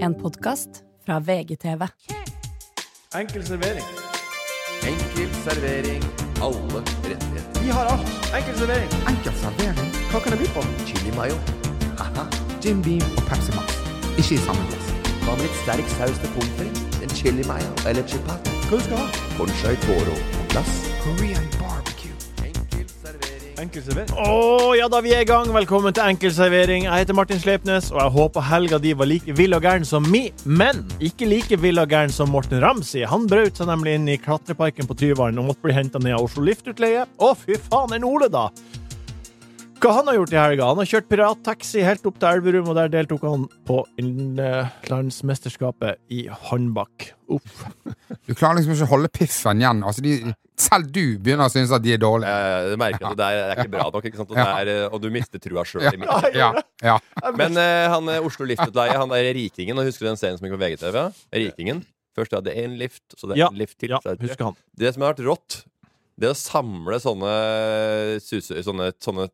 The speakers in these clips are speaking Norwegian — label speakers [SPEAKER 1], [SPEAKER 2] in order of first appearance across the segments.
[SPEAKER 1] En podkast fra VGTV.
[SPEAKER 2] Enkel servering.
[SPEAKER 3] Enkel servering. Alle rettigheter.
[SPEAKER 2] Vi har alt. Enkel servering.
[SPEAKER 4] Enkel servering,
[SPEAKER 2] Hva kan jeg by på?
[SPEAKER 3] Chili mayo. Haha.
[SPEAKER 4] Jim Beam og Pepsi Max. Ikke i samme glass.
[SPEAKER 3] Hva med litt sterk saus til pommes frites? En chili mayo eller chipat?
[SPEAKER 2] Hva du skal ha?
[SPEAKER 3] Conchai toro på glass.
[SPEAKER 4] Korean barbecue.
[SPEAKER 3] Enkel servering.
[SPEAKER 2] Enkel servering. Å ja da, vi er i gang. Velkommen til Enkel servering. Jeg heter Martin Sleipnes, og jeg håper helga di var like vill og gæren som mi, men ikke like vill og gæren som Morten Ramsi. Han brøt seg nemlig inn i klatreparken på Tyvann og måtte bli henta ned av Oslo Liftutleie. Å, fy faen, en Ole, da! Hva han har gjort i helga? Han har kjørt pirattaxi helt opp til Elverum, og der deltok han på innenlandsmesterskapet i håndbak. Uff.
[SPEAKER 4] Du klarer liksom ikke å holde piffen igjen. Altså, de, selv du begynner å synes at de er dårlige.
[SPEAKER 5] Eh, Du merker at det der er ikke bra nok, ikke sant? Og, det er, eh, og du mister trua sjøl.
[SPEAKER 4] Ja, ja.
[SPEAKER 5] Men eh, han eh, Oslo Liftutleie, han der rikingen, og husker du den serien som gikk på VGTV? ja? Rikingen. Først hadde én lift, så det er
[SPEAKER 2] Ja,
[SPEAKER 5] en lift til.
[SPEAKER 2] ja,
[SPEAKER 5] så er det-
[SPEAKER 2] husker han.
[SPEAKER 5] Det som har vært rått, det å samle sånne, suse, sånne, sånne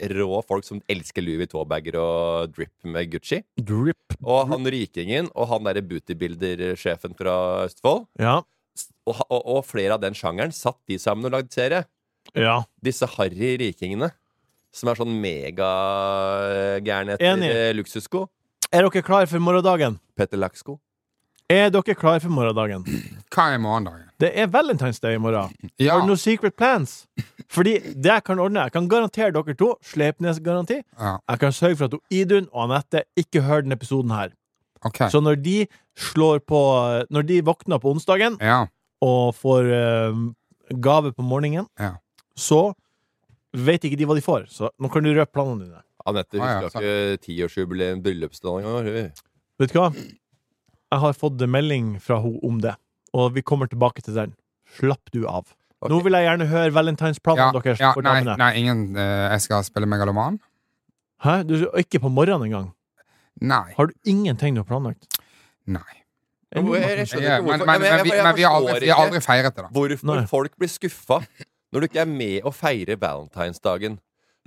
[SPEAKER 5] rå folk som elsker Louis Vuitton-bager og drip med Gucci.
[SPEAKER 2] Drip.
[SPEAKER 5] Og han rikingen og han derre bootybuilder-sjefen fra Østfold.
[SPEAKER 2] Ja.
[SPEAKER 5] Og, ha- og, og flere av den sjangeren satt de sammen og lagde serie.
[SPEAKER 2] ja.
[SPEAKER 5] disse harry rikingene som er sånn megagærne etter
[SPEAKER 2] Enig.
[SPEAKER 5] eh, luksussko.
[SPEAKER 2] Er dere klar for morgendagen?
[SPEAKER 5] Petter Lakksko.
[SPEAKER 2] Er dere klar for morgendagen?
[SPEAKER 4] Hva er morgendagen?
[SPEAKER 2] Det er Valentine's Day i morgen.
[SPEAKER 4] Ja.
[SPEAKER 2] Har du noen secret plans? Fordi det jeg kan ordne Jeg kan garantere dere to Slepnes-garanti.
[SPEAKER 4] ja.
[SPEAKER 2] Jeg kan sørge for at hun, Idun og Anette ikke hører denne episoden her.
[SPEAKER 4] Ok.
[SPEAKER 2] Så når de slår på Når de våkner på onsdagen
[SPEAKER 4] Ja.
[SPEAKER 2] og får eh, gave på morgenen,
[SPEAKER 4] Ja.
[SPEAKER 2] så vet ikke de hva de får. Så nå kan du røpe planene dine.
[SPEAKER 5] Anette
[SPEAKER 4] Ah, ja,
[SPEAKER 5] husker ikke tiårsjubileum, bryllupsdag engang.
[SPEAKER 2] Vet du hva? Jeg har fått melding fra henne om det, og vi kommer tilbake til den. Slapp du av.
[SPEAKER 5] Ok.
[SPEAKER 2] Nå vil jeg gjerne høre
[SPEAKER 4] Ja,
[SPEAKER 2] valentinsplanen deres.
[SPEAKER 4] ja,
[SPEAKER 2] for
[SPEAKER 4] nei,
[SPEAKER 2] damene.
[SPEAKER 4] nei, ingen eh, Jeg skal spille megaloman?
[SPEAKER 2] Hæ? Du, ikke på morgenen engang.
[SPEAKER 4] Nei.
[SPEAKER 2] Har du ingenting du har planlagt?
[SPEAKER 4] Nei.
[SPEAKER 2] Er du-
[SPEAKER 4] Men,
[SPEAKER 5] Jeg skjønner ikke
[SPEAKER 4] men,
[SPEAKER 5] hvorfor-
[SPEAKER 4] men,
[SPEAKER 5] Jeg- jeg-
[SPEAKER 4] vi,
[SPEAKER 5] jeg
[SPEAKER 4] men vi, har
[SPEAKER 5] forstår
[SPEAKER 4] aldri, vi har
[SPEAKER 5] ikke
[SPEAKER 4] aldri feiret det, da.
[SPEAKER 5] Hvorfor
[SPEAKER 2] Nei.
[SPEAKER 5] folk blir skuffa når du ikke er med å feire valentinsdagen.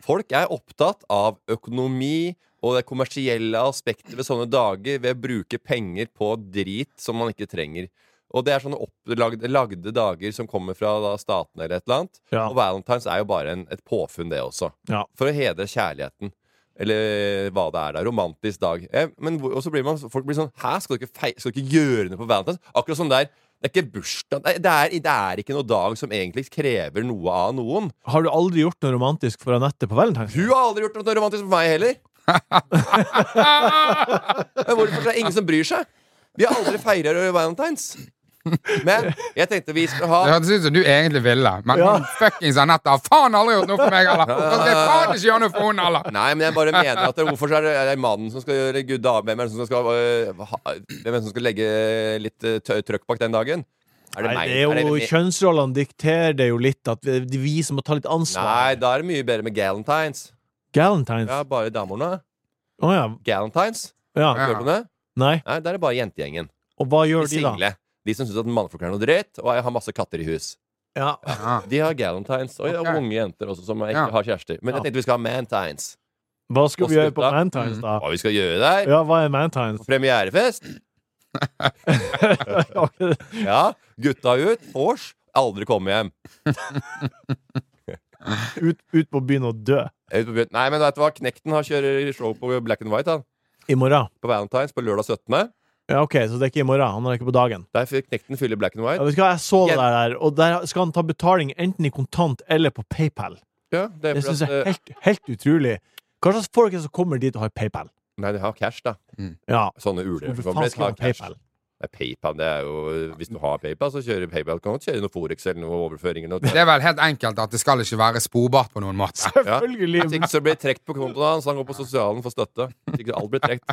[SPEAKER 5] Folk er opptatt av økonomi og det kommersielle aspektet ved sånne dager ved å bruke penger på drit som man ikke trenger. Og det er sånne opplagde, lagde dager som kommer fra da, statene eller et eller annet.
[SPEAKER 2] Ja.
[SPEAKER 5] Og valentines er jo bare en, et påfunn, det også.
[SPEAKER 2] Ja.
[SPEAKER 5] For å hedre kjærligheten. Eller hva det er da. Romantisk dag. Eh, men hvor, og så blir man, folk blir sånn Hæ, skal du ikke, fei, skal du ikke gjøre noe på valentines? Akkurat sånn der. Det er ikke bursdag Nei, det, er, det er ikke noe dag som egentlig krever noe av noen.
[SPEAKER 2] Har du aldri gjort noe romantisk for Anette på valentins?
[SPEAKER 5] Hun har aldri gjort noe romantisk for meg heller. Men hvorfor er det ingen som bryr seg? Vi har aldri feira valentines. Men jeg tenkte vi skulle ha
[SPEAKER 4] Det hørtes ut som du egentlig ville, men
[SPEAKER 2] Ja.
[SPEAKER 4] hun fuckings Anette har faen aldri gjort noe for meg, eller! Da skal jeg faen ikke gjøre noe for henne, eller!
[SPEAKER 5] Nei, men jeg bare mener at det, hvorfor er det, er det mannen som skal gjøre gud da, Hvem er det som skal, øh, ha, hvem er det som skal legge litt øh, tø- trøkk bak den dagen? Er
[SPEAKER 2] Nei,
[SPEAKER 5] meg?
[SPEAKER 2] det er jo,
[SPEAKER 5] me-
[SPEAKER 2] kjønnsrollene dikterer det jo litt, at vi, det er vi som må ta litt
[SPEAKER 5] Nei,
[SPEAKER 2] ansvar.
[SPEAKER 5] da er det mye bedre med galentines.
[SPEAKER 2] Galentines.
[SPEAKER 5] Ja,
[SPEAKER 2] Å
[SPEAKER 5] bare damene.
[SPEAKER 2] ja.
[SPEAKER 5] Galentines.
[SPEAKER 2] ja.
[SPEAKER 4] Ja.
[SPEAKER 5] Hører du om det?
[SPEAKER 2] Nei.
[SPEAKER 5] Nei, der er det bare jentegjengen.
[SPEAKER 2] Og hva
[SPEAKER 5] De
[SPEAKER 2] gjør de, da?
[SPEAKER 5] single. De som syns at mannfolk er noe dritt, og har masse katter i hus.
[SPEAKER 2] Ja.
[SPEAKER 4] Ja.
[SPEAKER 5] De har galentines. Og
[SPEAKER 4] Ok.
[SPEAKER 5] og unge jenter også som ikke
[SPEAKER 4] Ja.
[SPEAKER 5] har kjærester. Men
[SPEAKER 2] Ja.
[SPEAKER 5] jeg tenkte vi skal ha mantines.
[SPEAKER 2] Hva skal vi
[SPEAKER 5] Og
[SPEAKER 2] gjøre på
[SPEAKER 5] slutta.
[SPEAKER 2] valentines, da?
[SPEAKER 5] Hva vi skal gjøre der?
[SPEAKER 2] Ja, hva er valentines?
[SPEAKER 5] Premierefest? Ja. Gutta ut. Vors. Aldri komme hjem.
[SPEAKER 2] ut, ut på byen og dø.
[SPEAKER 5] Jeg er ute på byen. Nei, men vet du hva? Knekten har kjører show på Black and White han.
[SPEAKER 2] I morgen.
[SPEAKER 5] På Valentine's på lørdag 17.
[SPEAKER 2] Ja, ok, så det er ikke i morgen. Han er ikke på dagen.
[SPEAKER 5] Der fikk Knekten fylle Black and
[SPEAKER 2] Ja,
[SPEAKER 5] White.
[SPEAKER 2] vet du hva, jeg så det der, der, og der skal han ta betaling enten i kontant eller på PayPal.
[SPEAKER 5] Ja, det er
[SPEAKER 2] Det
[SPEAKER 5] for
[SPEAKER 2] syns
[SPEAKER 5] at,
[SPEAKER 2] jeg er
[SPEAKER 5] eh,
[SPEAKER 2] helt, helt utrolig. Hva slags folk er det som kommer dit og har PayPal?
[SPEAKER 5] eh, nei, de har cash, da.
[SPEAKER 2] Ja,
[SPEAKER 5] Sånne uler.
[SPEAKER 2] hvorfor faen skal han ha PayPal?
[SPEAKER 5] Nei, PayPal, det er jo Hvis du har PayPal, så kjører PayPal. Kan godt kjøre noe Forex eller noe overføring eller noe.
[SPEAKER 4] Det er vel helt enkelt at det skal ikke være sporbart på noen måte.
[SPEAKER 2] Selvfølgelig.
[SPEAKER 5] Hvis ikke så blir det trekt på kontoen hans. Han går på sosialen for støtte. Hvis Ikke alt blir trekt.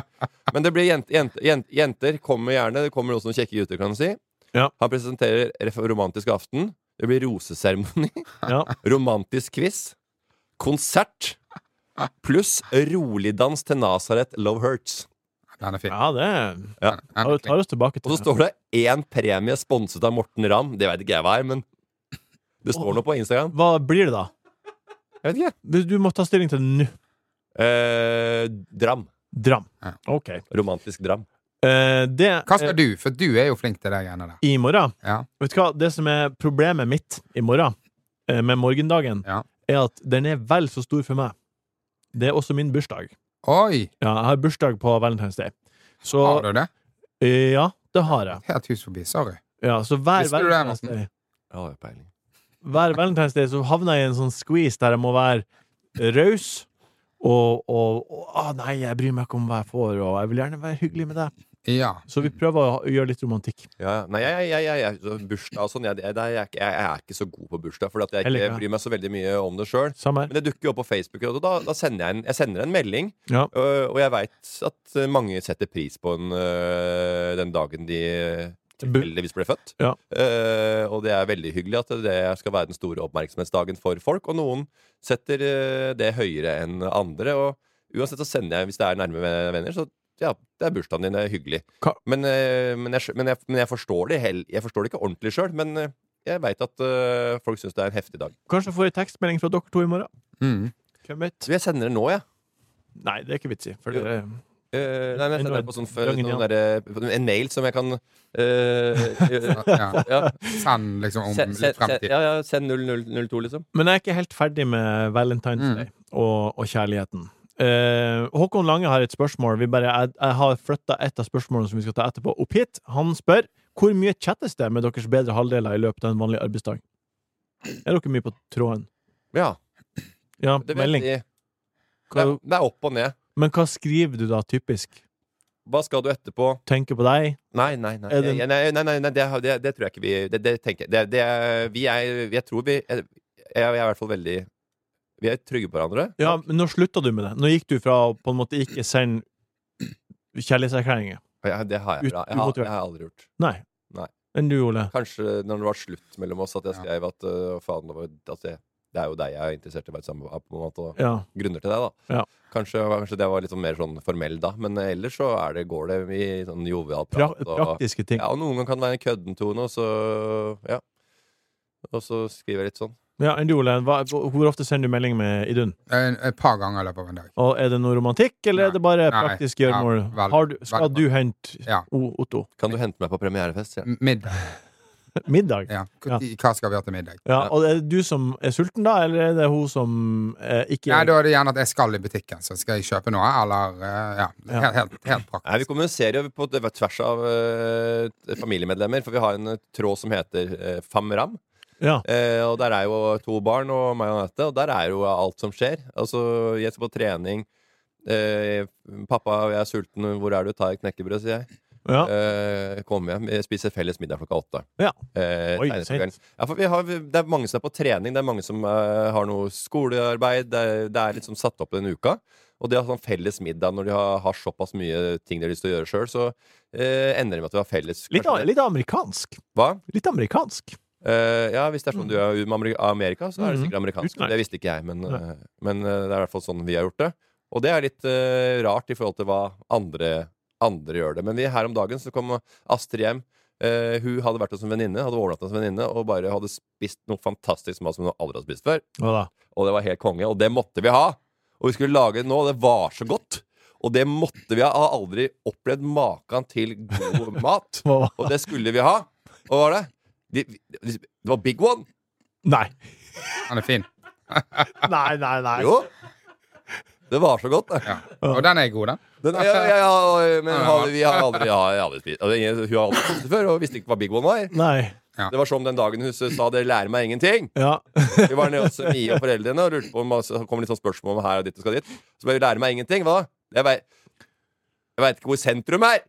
[SPEAKER 5] Men det blir jent, jent, jent, jenter kommer gjerne. Det kommer også noen kjekke gutter, kan du si.
[SPEAKER 2] Ja.
[SPEAKER 5] Han presenterer ref- Romantisk aften. Det blir roseseremoni.
[SPEAKER 2] Ja.
[SPEAKER 5] Romantisk quiz. Konsert. Pluss roligdans til Nazaret Love Hurts.
[SPEAKER 4] Den er fin.
[SPEAKER 2] ja, det er-
[SPEAKER 5] Ja.
[SPEAKER 4] Den
[SPEAKER 2] ja,
[SPEAKER 4] er
[SPEAKER 2] det tar oss tilbake
[SPEAKER 5] Og
[SPEAKER 2] til
[SPEAKER 5] så står det én premie sponset av Morten Ramm. Det veit ikke jeg hva er, men det står noe på Instagram.
[SPEAKER 2] Hva blir det, da?
[SPEAKER 5] Jeg vet ikke.
[SPEAKER 2] Du du må ta stilling til det nå.
[SPEAKER 5] Eh, dram.
[SPEAKER 2] Dram.
[SPEAKER 4] Ja.
[SPEAKER 2] Ok.
[SPEAKER 5] Romantisk dram.
[SPEAKER 2] Eh, det
[SPEAKER 4] Hva skal du? For du er jo flink til det greiene der.
[SPEAKER 2] i morgen
[SPEAKER 4] Ja.
[SPEAKER 2] Vet du hva, det som er problemet mitt i morgen, eh, med morgendagen,
[SPEAKER 4] Ja.
[SPEAKER 2] er at den er vel så stor for meg. Det er også min bursdag.
[SPEAKER 4] Oi!
[SPEAKER 2] Ja, jeg har bursdag på Valentine's Day. Så
[SPEAKER 4] Har du det?
[SPEAKER 2] eh, Ja, det har jeg.
[SPEAKER 4] Helt hus forbi. Sorry.
[SPEAKER 2] Ja, så hver
[SPEAKER 4] Visste du det,
[SPEAKER 2] Valentine's
[SPEAKER 4] Morten?
[SPEAKER 2] Day
[SPEAKER 5] Ja, det er peiling.
[SPEAKER 2] Hver Valentine's Day så havner jeg i en sånn squeeze der jeg må være raus. Og, og, og ah, nei, jeg bryr meg ikke om hva jeg får, og jeg vil gjerne være hyggelig med deg.
[SPEAKER 4] Ja.
[SPEAKER 2] Så vi prøver å ha- gjøre litt romantikk.
[SPEAKER 5] Ja, ja. Nei, jeg, jeg, jeg, jeg, så bursdag og sånn jeg, jeg, jeg, er ikke- jeg er ikke så god på bursdag, for jeg,
[SPEAKER 2] Jeg liker
[SPEAKER 5] jeg
[SPEAKER 2] det.
[SPEAKER 5] bryr meg så veldig mye om det sjøl.
[SPEAKER 2] Samme her.
[SPEAKER 5] Men det dukker jo opp på Facebook, og da, da sender jeg en, jeg sender en melding.
[SPEAKER 2] Ja.
[SPEAKER 5] øh, og jeg veit at øh, mange setter pris på en, øh, den dagen de øh, tilfeldigvis ble født.
[SPEAKER 2] Ja.
[SPEAKER 5] Eh, og det er veldig hyggelig at det skal være den store oppmerksomhetsdagen for folk. Og noen setter øh, det høyere enn andre. Og uansett så sender jeg, hvis det er nærme ven- venner, så ja, det er bursdagen din, det er hyggelig.
[SPEAKER 2] Ka-
[SPEAKER 5] Men, øh, men, jeg, skj- men, jeg, men jeg forstår det hell, Jeg forstår det ikke ordentlig sjøl, men øh, jeg veit at øh, folk syns det er en heftig dag.
[SPEAKER 2] Kanskje jeg får en tekstmelding fra dere to i morgen.
[SPEAKER 4] Mm.
[SPEAKER 2] Hvem vet?
[SPEAKER 5] Så jeg sender det nå, jeg. Ja.
[SPEAKER 2] Nei, det er ikke vits i. For det er
[SPEAKER 5] Eh, nei, men jeg
[SPEAKER 2] Enda
[SPEAKER 5] sender
[SPEAKER 2] et
[SPEAKER 5] på sånn, f-
[SPEAKER 2] langen
[SPEAKER 5] noen
[SPEAKER 2] igjen.
[SPEAKER 5] derre- på en mail som jeg kan eh,
[SPEAKER 4] ja.
[SPEAKER 5] ja,
[SPEAKER 4] Send liksom om
[SPEAKER 5] send,
[SPEAKER 4] litt
[SPEAKER 5] send, send,
[SPEAKER 4] fremtid.
[SPEAKER 5] ja, ja, send 0002, liksom.
[SPEAKER 2] Men jeg er ikke helt ferdig med Valentine's
[SPEAKER 4] Mm.
[SPEAKER 2] Day og, og kjærligheten. Eh, Håkon Lange har et spørsmål. Vi bare, jeg, jeg har flytta et av spørsmålene som vi skal ta etterpå, opp hit. Han spør hvor mye chattes det med deres bedre halvdeler i løpet av en vanlig arbeidsdag. Er dere mye på tråden?
[SPEAKER 5] Ja,
[SPEAKER 2] Ja,
[SPEAKER 5] det, vet
[SPEAKER 2] melding.
[SPEAKER 5] jeg. det,
[SPEAKER 2] Hva,
[SPEAKER 5] er, det er opp og ned.
[SPEAKER 2] men hva skriver du da, typisk?
[SPEAKER 5] Hva skal du etterpå?
[SPEAKER 2] Tenker på deg?
[SPEAKER 5] Nei, nei, nei.
[SPEAKER 2] Er det-
[SPEAKER 5] Jeg- nei, nei, nei, nei det, har- det, det tror jeg ikke vi Det, det tenker jeg det, det, er- Vi er Jeg tror vi Jeg, jeg er i hvert fall veldig Vi er trygge på hverandre.
[SPEAKER 2] Ja, men når slutta du med det? Nå gikk du fra å på en måte ikke sende kjærlighetserklæringer.
[SPEAKER 5] Ja, det har jeg,
[SPEAKER 2] Ut-
[SPEAKER 5] bra. jeg, har,
[SPEAKER 2] umotivert.
[SPEAKER 5] det har jeg aldri gjort.
[SPEAKER 2] Nei.
[SPEAKER 5] Nei.
[SPEAKER 2] Enn du, Ole?
[SPEAKER 5] Kanskje når det var slutt mellom oss, at jeg
[SPEAKER 4] Ja.
[SPEAKER 5] skrev at øh, faen, det, var, at det, det er jo deg jeg er interessert i å være sammen med. på en måte, og-
[SPEAKER 2] Ja.
[SPEAKER 5] grunner til det, da.
[SPEAKER 2] Ja.
[SPEAKER 5] Kanskje, kanskje det var litt sånn mer sånn formell da, men eh, ellers så er det, går det i sånn jovial
[SPEAKER 2] Pra
[SPEAKER 5] prat. og,
[SPEAKER 2] praktiske ting.
[SPEAKER 5] ja, og noen ganger kan det være en kødden tone, og så ja. Og så skriver jeg litt sånn.
[SPEAKER 2] Ja, enn du, Ole? Hva, hvor ofte sender du melding med Idun?
[SPEAKER 4] Eh, En- Et par ganger i løpet av en dag.
[SPEAKER 2] Og er det noe romantikk, eller er det bare
[SPEAKER 4] Nei.
[SPEAKER 2] praktisk gjøremål?
[SPEAKER 4] Ja, vel-
[SPEAKER 2] Har du- skal
[SPEAKER 4] vel-
[SPEAKER 2] du hente
[SPEAKER 4] Ja.
[SPEAKER 2] O- Otto?
[SPEAKER 5] Kan du hente meg på premierefest? sier jeg.
[SPEAKER 4] M- Middag.
[SPEAKER 2] Middag?
[SPEAKER 4] Ja. Hva, hva skal vi ha til middag?
[SPEAKER 2] Ja, og er det du som er sulten, da, eller er det hun som eh, ikke
[SPEAKER 4] Nei, da er det gjerne at jeg skal i butikken, så skal jeg kjøpe noe, eller eh, Ja.
[SPEAKER 2] Ja.
[SPEAKER 4] Helt, helt, helt praktisk.
[SPEAKER 5] Nei, Vi kommuniserer jo på det var tvers av eh, familiemedlemmer, for vi har en eh, tråd som heter eh, Famram.
[SPEAKER 2] Ja.
[SPEAKER 5] Eh, og der er jo to barn og meg og Anette, og der er jo alt som skjer. Altså, jeg skal på trening. Eh, pappa, jeg er sulten, hvor er du? Ta et knekkebrød, sier jeg.
[SPEAKER 2] ja.
[SPEAKER 5] Eh, Komme hjem, eh, spise felles middag klokka åtte.
[SPEAKER 2] Ja.
[SPEAKER 5] Eh,
[SPEAKER 2] Oi,
[SPEAKER 5] tegnet på
[SPEAKER 2] sent.
[SPEAKER 5] kvelden. ja, for vi har, det er mange som er på trening, det er mange som eh, har noe skolearbeid. Det er, det er liksom satt opp den uka. Og det å ha sånn felles middag når de har, har såpass mye ting de har lyst til å gjøre sjøl, så eh, ender det med at vi har felles
[SPEAKER 2] Litt,
[SPEAKER 5] kanskje
[SPEAKER 2] a-
[SPEAKER 5] det-
[SPEAKER 2] litt amerikansk.
[SPEAKER 5] Hva?
[SPEAKER 2] Litt amerikansk.
[SPEAKER 5] Eh, ja, hvis det er sånn du er med Ameri- Amerika, så er
[SPEAKER 2] Mhm.
[SPEAKER 5] det sikkert amerikansk.
[SPEAKER 2] Utmerket.
[SPEAKER 5] Det visste ikke jeg, men,
[SPEAKER 2] Nei.
[SPEAKER 5] eh, men eh, det er i hvert fall sånn vi har gjort det. Og det er litt eh, rart i forhold til hva andre, andre gjør det. Men vi her om dagen så kom Astrid hjem. Eh, hun hadde vært hos en venninne, hadde overnatta hos en venninne og bare hadde spist noe fantastisk mat som hun aldri hadde spist før.
[SPEAKER 2] Hva da?
[SPEAKER 5] Og det var helt konge, og det måtte vi ha. Og vi skulle lage det nå, og det var så godt. Og det måtte vi ha. Jeg har aldri opplevd maken til god mat.
[SPEAKER 2] Hva var
[SPEAKER 5] Og det skulle vi ha. Og hva var det? De, de, det var Big One.
[SPEAKER 2] Nei.
[SPEAKER 4] Den er fin.
[SPEAKER 2] Nei, nei, nei.
[SPEAKER 5] Jo. Det var så godt, det.
[SPEAKER 4] Ja. Og den er god, den.
[SPEAKER 5] Den, ja, ja, ja, men har, vi har aldri, ja, jeg har aldri spist altså, ingen- Hun har aldri spist det før og visste ikke hva Big One var.
[SPEAKER 2] Nei.
[SPEAKER 5] Det var som den dagen hun sa 'dere lærer meg ingenting'.
[SPEAKER 2] Ja.
[SPEAKER 5] Vi var nede hos Mie og foreldrene og lurte på om så kom litt sånn spørsmål om her og dit og skal dit. Så bare 'lærer meg ingenting'. Hva da? Jeg vei- jeg veit ikke hvor sentrum er.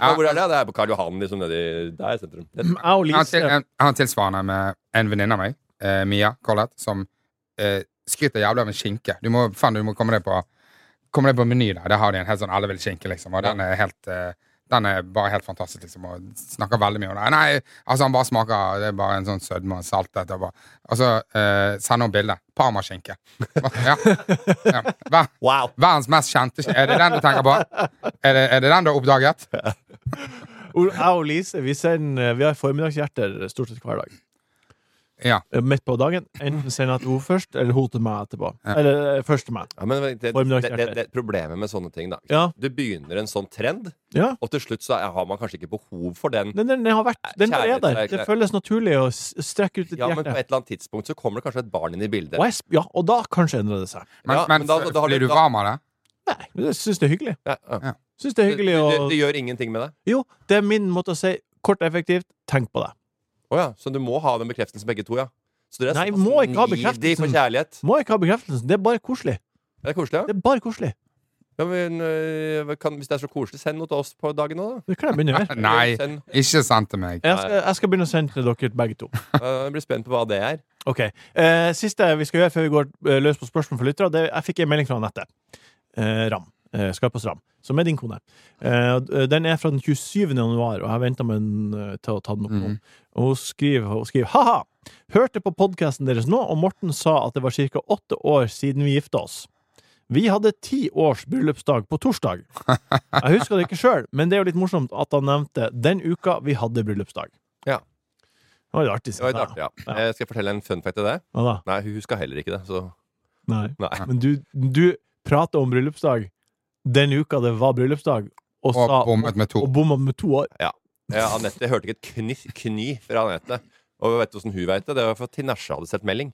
[SPEAKER 5] Ja, hvor er det? Det er på Karl Johan, liksom nedi der er sentrum. Det,
[SPEAKER 2] Jeg og
[SPEAKER 4] Jeg har, til,
[SPEAKER 2] Lise
[SPEAKER 4] jeg har en tilsvarende med en venninne av meg, eh, Mia Collett, som eh, skryter jævlig av en skinke. Du må, faen, du må komme deg på Komme deg på meny der. Der har de en helt sånn alle vil skinke, liksom. Og den er helt eh, den er bare helt fantastisk, liksom, og snakker veldig mye om det. Nei, altså, han bare smaker Det er bare en sånn sødme og saltet og bare Og så eh, sender hun bilde. Parmaskinke. Ja. ja. Ver,
[SPEAKER 5] wow!
[SPEAKER 4] verdens mest kjente skinke. Er det den du tenker på? Er det, er det den du har oppdaget?
[SPEAKER 2] eh, Jeg og Lise, vi, sender, vi har formiddagshjerter stort sett hver dag.
[SPEAKER 4] Ja.
[SPEAKER 2] Eh, midt på dagen. Enten send at hun først, eller hun til meg etterpå.
[SPEAKER 4] Ja.
[SPEAKER 2] Eller eh, først til meg.
[SPEAKER 5] Ja, men det, det, det, det, det Problemet med sånne ting, da.
[SPEAKER 2] Ja.
[SPEAKER 5] Du begynner en sånn trend,
[SPEAKER 2] Ja.
[SPEAKER 5] og til slutt så er- har man kanskje ikke behov for den.
[SPEAKER 2] Den, den, den har vært Den bare er der.
[SPEAKER 5] Kjærlighetserklæring.
[SPEAKER 2] Det føles naturlig å s- strekke ut et
[SPEAKER 5] Ja, men på
[SPEAKER 2] hjerte.
[SPEAKER 5] et eller annet tidspunkt så kommer det kanskje et barn inn i bildet.
[SPEAKER 2] Og jeg, sp- ja, og da kanskje endrer det seg.
[SPEAKER 4] Men,
[SPEAKER 5] Ja,
[SPEAKER 4] men,
[SPEAKER 5] men da- da- da har
[SPEAKER 4] blir
[SPEAKER 5] du-
[SPEAKER 4] du varm av det?
[SPEAKER 2] Nei, men jeg syns det er hyggelig.
[SPEAKER 5] Ja, ja.
[SPEAKER 2] Synes det er
[SPEAKER 5] Det,
[SPEAKER 2] hyggelig å
[SPEAKER 5] det- det gjør ingenting med deg.
[SPEAKER 2] Jo, det er min måte å si kort og effektivt tenk på det.
[SPEAKER 5] Å ja, så du må ha den bekreftelsen begge to, ja. Så dere er
[SPEAKER 2] Nei,
[SPEAKER 5] såpass
[SPEAKER 2] må ikke ha
[SPEAKER 5] needy for
[SPEAKER 2] bekreftelsen.
[SPEAKER 5] kjærlighet.
[SPEAKER 2] Må ikke ha bekreftelsen. Det er bare koselig.
[SPEAKER 5] Det er koselig, ja.
[SPEAKER 2] Det er bare koselig.
[SPEAKER 5] ja men, øh, kan, hvis det er så koselig, send noe til oss på dagen nå, da.
[SPEAKER 2] Det kan jeg begynne med.
[SPEAKER 4] Nei,
[SPEAKER 5] Send,
[SPEAKER 4] ikke send til meg.
[SPEAKER 2] Jeg skal, jeg skal begynne å sende til dere begge to.
[SPEAKER 5] øh, jeg blir spent på hva det er.
[SPEAKER 2] Ok, eh, Siste vi skal gjøre før vi går eh, løs på spørsmål for lyttere, det er- jeg fikk en melding fra Anette eh, Ram. Eh, Skarpaas Ram, som er din kone. Eh, og, eh, den er fra den 27. januar, og jeg venter med den eh, til å ta den opp nå.
[SPEAKER 4] Mhm.
[SPEAKER 2] Og hun skriver, hun skriver Haha! Hørte på podkasten deres nå, og Morten sa at det var ca. åtte år siden vi gifta oss. Vi hadde ti års bryllupsdag på torsdag. Jeg husker det ikke sjøl, men det er jo litt morsomt at han nevnte den uka vi hadde bryllupsdag.
[SPEAKER 5] Ja.
[SPEAKER 2] Det var litt artig.
[SPEAKER 5] Det var litt
[SPEAKER 2] synes
[SPEAKER 5] artig,
[SPEAKER 2] jeg.
[SPEAKER 5] ja.
[SPEAKER 2] Ja.
[SPEAKER 5] Eh, skal jeg fortelle en fun fact til deg?
[SPEAKER 2] Hva da?
[SPEAKER 5] Nei, hun huska heller ikke det, så
[SPEAKER 2] Nei.
[SPEAKER 5] nei.
[SPEAKER 2] Men du, du prater om bryllupsdag den uka det var bryllupsdag, og,
[SPEAKER 4] Og
[SPEAKER 2] sa,
[SPEAKER 4] bommet med to.
[SPEAKER 2] og bomma med to år.
[SPEAKER 5] Ja, Anette, jeg hørte ikke et kny, kny fra Anette. Og vet du hvordan hun veit det? Det var for at Tinashe hadde sett melding.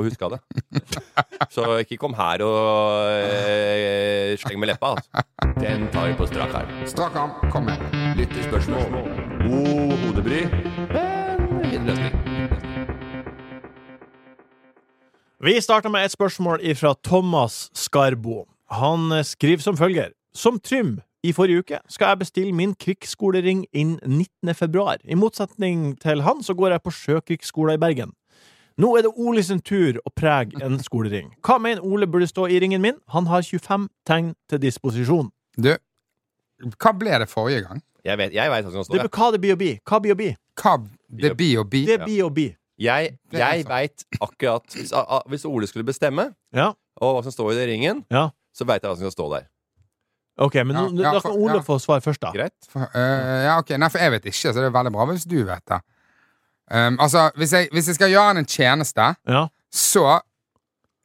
[SPEAKER 5] Og huska det. Så ikke kom her og eh, sleng med leppa, altså. Den tar vi på strak arm.
[SPEAKER 4] Strak arm, kom med.
[SPEAKER 5] Lyttespørsmål. God hodebry. Men fin løsning.
[SPEAKER 2] Vi starter med et spørsmål fra Thomas Skarbo. Han eh, skriver som følger. Som Trym i forrige uke skal jeg bestille min krigsskolering innen 19. februar. I motsetning til han så går jeg på sjøkrigsskolen i Bergen. Nå er det Ole sin tur å prege en skolering. Hva mener Ole burde stå i ringen min? Han har 25 tegn til disposisjon.
[SPEAKER 4] Du, hva ble det forrige gang?
[SPEAKER 5] Jeg vet, jeg vet hva som
[SPEAKER 2] Det
[SPEAKER 5] står
[SPEAKER 2] er
[SPEAKER 5] der.
[SPEAKER 2] hva det blir å bli. Hva blir å bli?
[SPEAKER 4] Hva det blir og
[SPEAKER 2] Det
[SPEAKER 4] blir?
[SPEAKER 2] blir å bli.
[SPEAKER 5] Jeg,
[SPEAKER 4] Det er
[SPEAKER 5] jeg veit akkurat hvis, a- a- hvis Ole skulle bestemme,
[SPEAKER 2] Ja.
[SPEAKER 5] og hva som står i den ringen,
[SPEAKER 2] Ja.
[SPEAKER 5] så veit jeg hva som skal stå der.
[SPEAKER 2] Ok, men
[SPEAKER 4] Ja,
[SPEAKER 2] nå,
[SPEAKER 4] ja,
[SPEAKER 2] da kan
[SPEAKER 4] for-
[SPEAKER 2] Ole
[SPEAKER 4] ja.
[SPEAKER 2] få svar først, da.
[SPEAKER 5] Greit?
[SPEAKER 4] For, eh, ja, ok. Nei, for jeg vet ikke, så det er veldig bra hvis du vet det. Um, altså, hvis jeg, hvis jeg skal gjøre han en tjeneste,
[SPEAKER 2] Ja.
[SPEAKER 4] så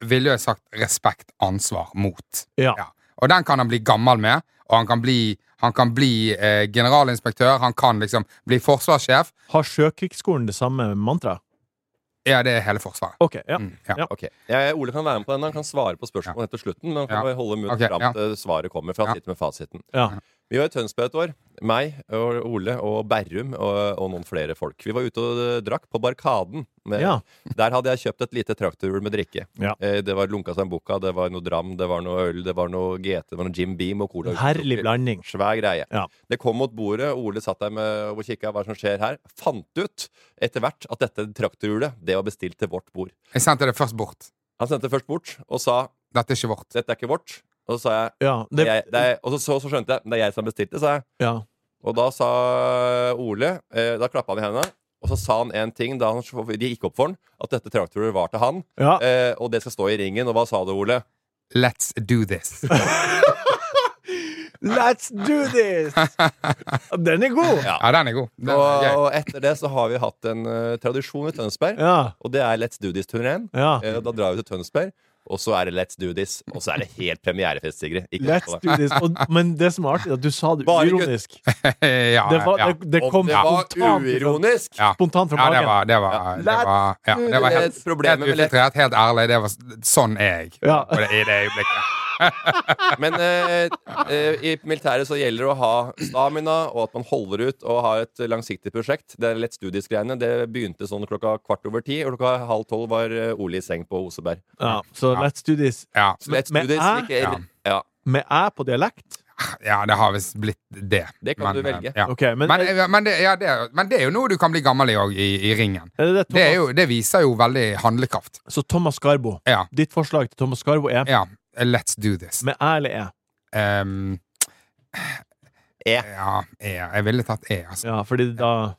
[SPEAKER 4] ville jeg sagt respekt, ansvar, mot.
[SPEAKER 2] Ja.
[SPEAKER 4] Og den kan han bli gammel med, og han kan bli, han kan bli eh, generalinspektør, han kan liksom bli forsvarssjef.
[SPEAKER 2] Har Sjøkrigsskolen det samme mantraet?
[SPEAKER 4] Ja, det er hele Forsvaret.
[SPEAKER 2] Ok, ja.
[SPEAKER 4] Mm, ja.
[SPEAKER 2] Ja.
[SPEAKER 5] Ok, jeg, Ole kan være med på den. Han kan svare på spørsmålet etter slutten. Men han kan
[SPEAKER 4] Ja.
[SPEAKER 5] bare holde munnen
[SPEAKER 4] Ok,
[SPEAKER 5] fram
[SPEAKER 4] ja.
[SPEAKER 5] til svaret kommer. For han
[SPEAKER 4] Ja.
[SPEAKER 5] sitter med fasiten
[SPEAKER 2] ja.
[SPEAKER 5] Vi var i Tønsberg et år. Meg og Ole og Berrum og, og noen flere folk. Vi var ute og eh, drakk på Barkaden. Med,
[SPEAKER 2] Ja.
[SPEAKER 5] Der hadde jeg kjøpt et lite traktorhjul med drikke.
[SPEAKER 2] Ja.
[SPEAKER 5] Eh, det var Lunka Sambuca, det var noe Dram, det var noe øl, det var noe GT, det var noe Jim Beam og cola.
[SPEAKER 2] En herlig blanding.
[SPEAKER 5] Svær greie.
[SPEAKER 2] Ja.
[SPEAKER 5] Det kom mot bordet, Ole satt der med, og kikka hva som skjer her. Fant ut etter hvert at dette traktorhjulet, det var bestilt til vårt bord.
[SPEAKER 4] Jeg sendte det først bort.
[SPEAKER 5] Han sendte det først bort og sa
[SPEAKER 4] Dette er ikke vårt.
[SPEAKER 5] dette er ikke vårt. Og så sa jeg,
[SPEAKER 2] ja, det,
[SPEAKER 5] jeg det er, Og så, så, så skjønte jeg det er jeg som bestilte, sa jeg.
[SPEAKER 2] ja.
[SPEAKER 5] Og da sa Ole eh, Da klappa han i hendene. Og så sa han en ting da han, de gikk opp for han at dette traktoret var til han.
[SPEAKER 2] ja.
[SPEAKER 5] Eh, og det skal stå i ringen. Og hva sa du, Ole?
[SPEAKER 4] Let's do this.
[SPEAKER 2] Let's do this! Den er god!
[SPEAKER 5] Ja.
[SPEAKER 4] Ja, den er god. Den
[SPEAKER 5] Og,
[SPEAKER 4] er gøy.
[SPEAKER 5] og etter det så har vi hatt en eh, tradisjon i Tønsberg,
[SPEAKER 2] Ja.
[SPEAKER 5] og det er Let's Do This-turneen.
[SPEAKER 2] ja.
[SPEAKER 5] Eh, da drar vi til Tønsberg, og så er det Let's Do This. Og så er det helt premierefest, Sigrid. Ikke
[SPEAKER 2] Let's
[SPEAKER 5] noe på det.
[SPEAKER 2] do this. Og, men det som er artig, er at du sa det
[SPEAKER 5] Bare
[SPEAKER 2] uironisk.
[SPEAKER 4] ja,
[SPEAKER 2] Det, var,
[SPEAKER 4] ja.
[SPEAKER 2] det, det
[SPEAKER 5] Om
[SPEAKER 2] kom
[SPEAKER 5] det var
[SPEAKER 2] spontant fra,
[SPEAKER 5] uironisk!
[SPEAKER 4] Ja.
[SPEAKER 2] spontant fra
[SPEAKER 4] Ja, det
[SPEAKER 2] magen.
[SPEAKER 4] var, det var, det var, ja, det var
[SPEAKER 5] Det er
[SPEAKER 4] helt,
[SPEAKER 5] et problem
[SPEAKER 4] helt
[SPEAKER 5] med lett-
[SPEAKER 4] ufiltrert, helt ærlig. Det var, s- sånn er jeg
[SPEAKER 2] Ja.
[SPEAKER 4] på det, i det øyeblikket.
[SPEAKER 5] Men eh, eh, i militæret så gjelder det å ha stamina, og at man holder ut og har et langsiktig prosjekt. Det er lett studiesgreiene. Det begynte sånn klokka kvart over ti, og klokka halv tolv var eh, Ole i seng på Oseberg.
[SPEAKER 2] Ja, så let's do this.
[SPEAKER 4] Ja.
[SPEAKER 5] Så let's
[SPEAKER 2] Men-
[SPEAKER 5] do this.
[SPEAKER 2] men
[SPEAKER 5] Ikke,
[SPEAKER 4] Ja.
[SPEAKER 5] ja.
[SPEAKER 2] Med æ på dialekt?
[SPEAKER 4] ja, det har visst blitt det.
[SPEAKER 5] Det kan du
[SPEAKER 4] eh,
[SPEAKER 5] velge.
[SPEAKER 4] Ja.
[SPEAKER 2] Ok, men,
[SPEAKER 4] Men,
[SPEAKER 2] er
[SPEAKER 4] eh, men, det, ja, det, er- men det er jo noe du kan bli gammel i òg, i, i ringen.
[SPEAKER 2] det det,
[SPEAKER 4] Det, er
[SPEAKER 2] Thomas?
[SPEAKER 4] jo, det viser jo veldig handlekraft.
[SPEAKER 2] Så Thomas Skarbo,
[SPEAKER 4] Ja.
[SPEAKER 2] ditt forslag til Thomas Skarbo er
[SPEAKER 4] ja. Let's do this.
[SPEAKER 2] med æ eller e. æ?
[SPEAKER 4] Ehm,
[SPEAKER 5] E.
[SPEAKER 4] ja, e. Jeg ville tatt E, altså.
[SPEAKER 2] Ja, fordi da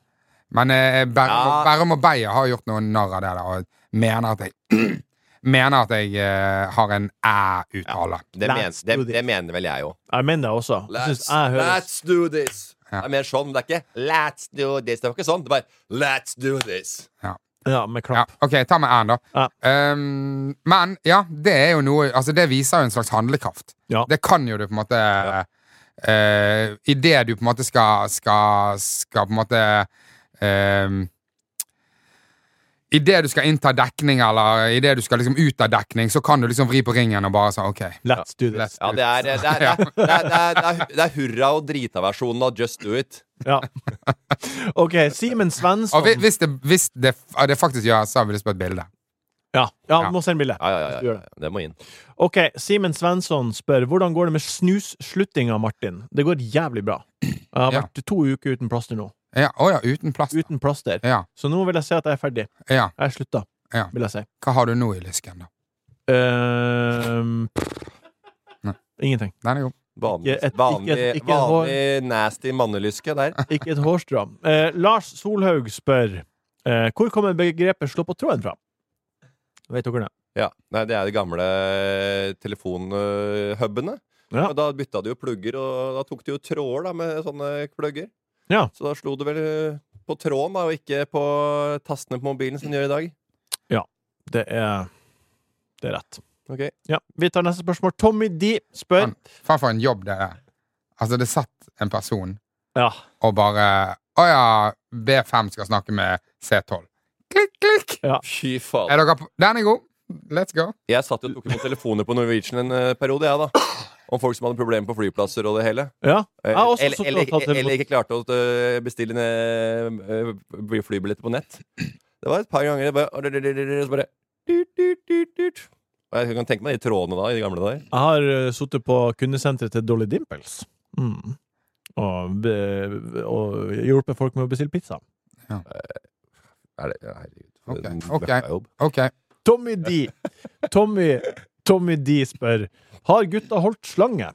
[SPEAKER 4] Men eh, Ber-
[SPEAKER 5] Ja.
[SPEAKER 4] Bærum og Beyer har gjort noe narr av det der, og mener at jeg Mener at jeg eh, har en æ-uttale.
[SPEAKER 5] Det, men,
[SPEAKER 2] Let's
[SPEAKER 5] det,
[SPEAKER 2] do this.
[SPEAKER 5] det mener vel jeg òg.
[SPEAKER 2] Jeg mener det også. Jeg
[SPEAKER 5] Let's,
[SPEAKER 2] synes jeg høres
[SPEAKER 5] let's do this!
[SPEAKER 4] Ja.
[SPEAKER 5] Det er mer sånn, men det er ikke 'let's do this'. Det var ikke sånn. Det var 'let's do this'.
[SPEAKER 4] Ja.
[SPEAKER 2] Ja, med
[SPEAKER 4] Ja,
[SPEAKER 2] klapp.
[SPEAKER 4] ok, ta med æren, da.
[SPEAKER 2] Ja.
[SPEAKER 4] Ehm, men ja, det er jo noe Altså, det viser jo en slags handlekraft.
[SPEAKER 2] Ja.
[SPEAKER 4] Det kan jo du på en måte ja. Idet du på en måte skal Skal, skal på en måte ehm, i Idet du skal innta dekning, eller idet du skal liksom ut av dekning, så kan du liksom vri på ringen og bare sånn OK.
[SPEAKER 2] Let's do this.
[SPEAKER 4] let's-
[SPEAKER 5] Ja, det er, det er, det er, det er, det er, det er, det er hurra og drita-versjonen av Just Do It.
[SPEAKER 2] Ja. OK, Simen Svensson.
[SPEAKER 4] Og hvi- hvis det, hvis det, ja, det faktisk gjør, så vil jeg spørre et bilde.
[SPEAKER 2] Ja, ja,
[SPEAKER 4] Ja.
[SPEAKER 2] må sende bilde.
[SPEAKER 5] Ja, ja, ja, ja,
[SPEAKER 2] Gjør det.
[SPEAKER 5] ja. Det må inn.
[SPEAKER 2] OK, Simen Svensson spør hvordan går det med snussluttinga, Martin? Det går jævlig bra. Jeg har
[SPEAKER 4] Ja.
[SPEAKER 2] vært to uker uten plaster nå.
[SPEAKER 4] Ja, å ja, uten plast.
[SPEAKER 2] Uten plaster.
[SPEAKER 4] Ja,
[SPEAKER 2] Så nå vil jeg si at jeg er ferdig.
[SPEAKER 4] ja.
[SPEAKER 2] Jeg har slutta,
[SPEAKER 4] Ja.
[SPEAKER 2] vil jeg si.
[SPEAKER 4] Hva har du nå i lysken, da?
[SPEAKER 2] Ehm,
[SPEAKER 4] Nei.
[SPEAKER 2] Ingenting.
[SPEAKER 4] Den er god.
[SPEAKER 5] Vanlig,
[SPEAKER 2] Ikke et-
[SPEAKER 5] vanlig,
[SPEAKER 2] ikke et- ikke et hår.
[SPEAKER 5] vanlig nasty mannelyske der.
[SPEAKER 2] Ikke et hårstrå. Eh, Lars Solhaug spør eh, hvor kommer begrepet 'slå på tråden' fra? Vet dere det?
[SPEAKER 5] Ja, nei, Det er de gamle telefonhubene.
[SPEAKER 2] Ja.
[SPEAKER 5] Og Da bytta de jo plugger, og da tok de jo tråder da, med sånne plugger.
[SPEAKER 2] Ja.
[SPEAKER 5] Så da slo det vel eh, på tråden, da, og ikke på tastene på mobilen som de gjør i dag.
[SPEAKER 2] Det er Det er rett.
[SPEAKER 5] Ok,
[SPEAKER 2] Ja, Vi tar neste spørsmål. Tommy D spør
[SPEAKER 4] Han- Faen for en jobb det er. Altså, det satt en person
[SPEAKER 2] Ja.
[SPEAKER 4] og bare Å ja, B5 skal snakke med C12. Klikk, klikk!
[SPEAKER 5] Fy
[SPEAKER 4] Er
[SPEAKER 5] faen.
[SPEAKER 4] dere på? Den er god. Let's go.
[SPEAKER 5] Jeg satt jo og tok imot telefoner på Norwegian en eh, periode, jeg, da. Om folk som hadde problemer på flyplasser og det hele.
[SPEAKER 2] ja.
[SPEAKER 5] Eh,
[SPEAKER 2] Jeg har også
[SPEAKER 5] eller,
[SPEAKER 2] sittet
[SPEAKER 5] eller,
[SPEAKER 2] og tatt
[SPEAKER 5] eller
[SPEAKER 2] imot.
[SPEAKER 5] ikke klarte å eh, bestille en, eh, eh, flybilletter på nett. Det var et par ganger det bare, Så bare dut, dut, dut, dut. Og Jeg kan tenke meg de trådene da, i de gamle dager.
[SPEAKER 2] Jeg har uh, sittet på kundesenteret til Dolly Dimples. Mm. Og, be- og hjulpet folk med å bestille pizza.
[SPEAKER 5] Er det, herregud.
[SPEAKER 4] Ok,
[SPEAKER 5] Det er en
[SPEAKER 4] ok.
[SPEAKER 5] møkkajobb.
[SPEAKER 4] OK.
[SPEAKER 2] Tommy D. Tommy, Tommy D spør Har gutta holdt slange.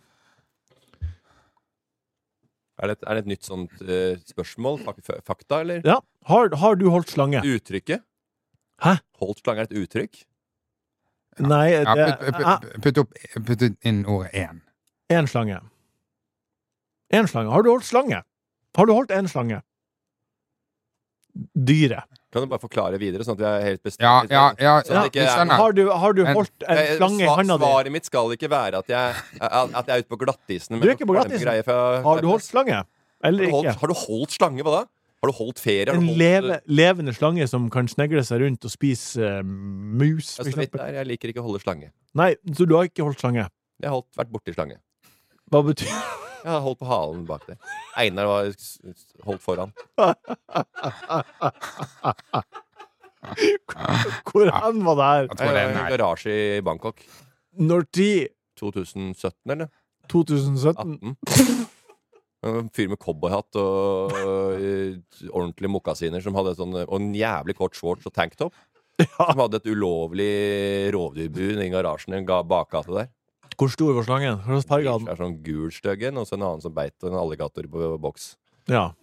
[SPEAKER 5] Er, det, et- er det et nytt sånt eh, spørsmål? Fak, fakta, eller?
[SPEAKER 2] Ja. Har, har du holdt slange?
[SPEAKER 5] Uttrykket?
[SPEAKER 2] Hæ?
[SPEAKER 5] Holdt slange er et uttrykk?
[SPEAKER 2] Nei,
[SPEAKER 4] Ja,
[SPEAKER 2] det
[SPEAKER 4] putt,
[SPEAKER 2] jeg-
[SPEAKER 4] putt, putt, opp, putt inn ordet én.
[SPEAKER 2] Én slange. Én slange. Har du holdt slange? Har du holdt én slange? Dyret.
[SPEAKER 5] Kan du bare forklare videre, sånn at jeg er helt bestemt?
[SPEAKER 4] Ja, ja, ja.
[SPEAKER 5] Sånn
[SPEAKER 4] ja
[SPEAKER 5] at det ikke
[SPEAKER 4] vi
[SPEAKER 5] er-
[SPEAKER 4] skjønner.
[SPEAKER 2] Har du, har du
[SPEAKER 4] En-
[SPEAKER 2] holdt en
[SPEAKER 5] Eh,
[SPEAKER 2] slange i
[SPEAKER 5] sva-
[SPEAKER 2] handa di?
[SPEAKER 5] Svaret mitt skal ikke være at jeg, at at jeg er ute på glattisen. men
[SPEAKER 2] Du er ikke på
[SPEAKER 5] forklare meg
[SPEAKER 2] glattisen.
[SPEAKER 5] greier fra-
[SPEAKER 2] Har du holdt slange? Eller ikke?
[SPEAKER 5] Har du holdt, har du holdt slange, hva da? Har du holdt ferie? Har
[SPEAKER 2] En
[SPEAKER 5] du holdt,
[SPEAKER 2] leve, levende slange som kan snegle seg rundt og spise eh, mus,
[SPEAKER 5] Ja,
[SPEAKER 2] for
[SPEAKER 5] så vidt
[SPEAKER 2] eksempel.
[SPEAKER 5] der, jeg liker ikke å holde slange.
[SPEAKER 2] Nei, så du har ikke holdt slange.
[SPEAKER 5] Jeg har holdt, vært borti slange.
[SPEAKER 2] Hva betyr
[SPEAKER 5] Jeg har holdt på halen bak der. Einar var s- s- holdt foran.
[SPEAKER 2] Hvor hen var det her?
[SPEAKER 4] Jeg tror det
[SPEAKER 5] Jeg var
[SPEAKER 4] er
[SPEAKER 5] i en
[SPEAKER 4] nei.
[SPEAKER 5] Eh, garasje i Bangkok.
[SPEAKER 2] Når tid?
[SPEAKER 5] 2017, eller?
[SPEAKER 2] 2017?
[SPEAKER 5] 18. Mm. En fyr med cowboyhatt og, og ordentlige mokkasiner som hadde sånn, og en jævlig kort shorts og tanktop. Som hadde et ulovlig rovdyrbur i garasjen i en ga- bakgate der.
[SPEAKER 2] Hvor stor var slangen? Hva slags farge
[SPEAKER 5] Det
[SPEAKER 2] hadde den?
[SPEAKER 5] er sånn gul styggen, og så en annen som beit en alligator på boks.
[SPEAKER 2] Ja.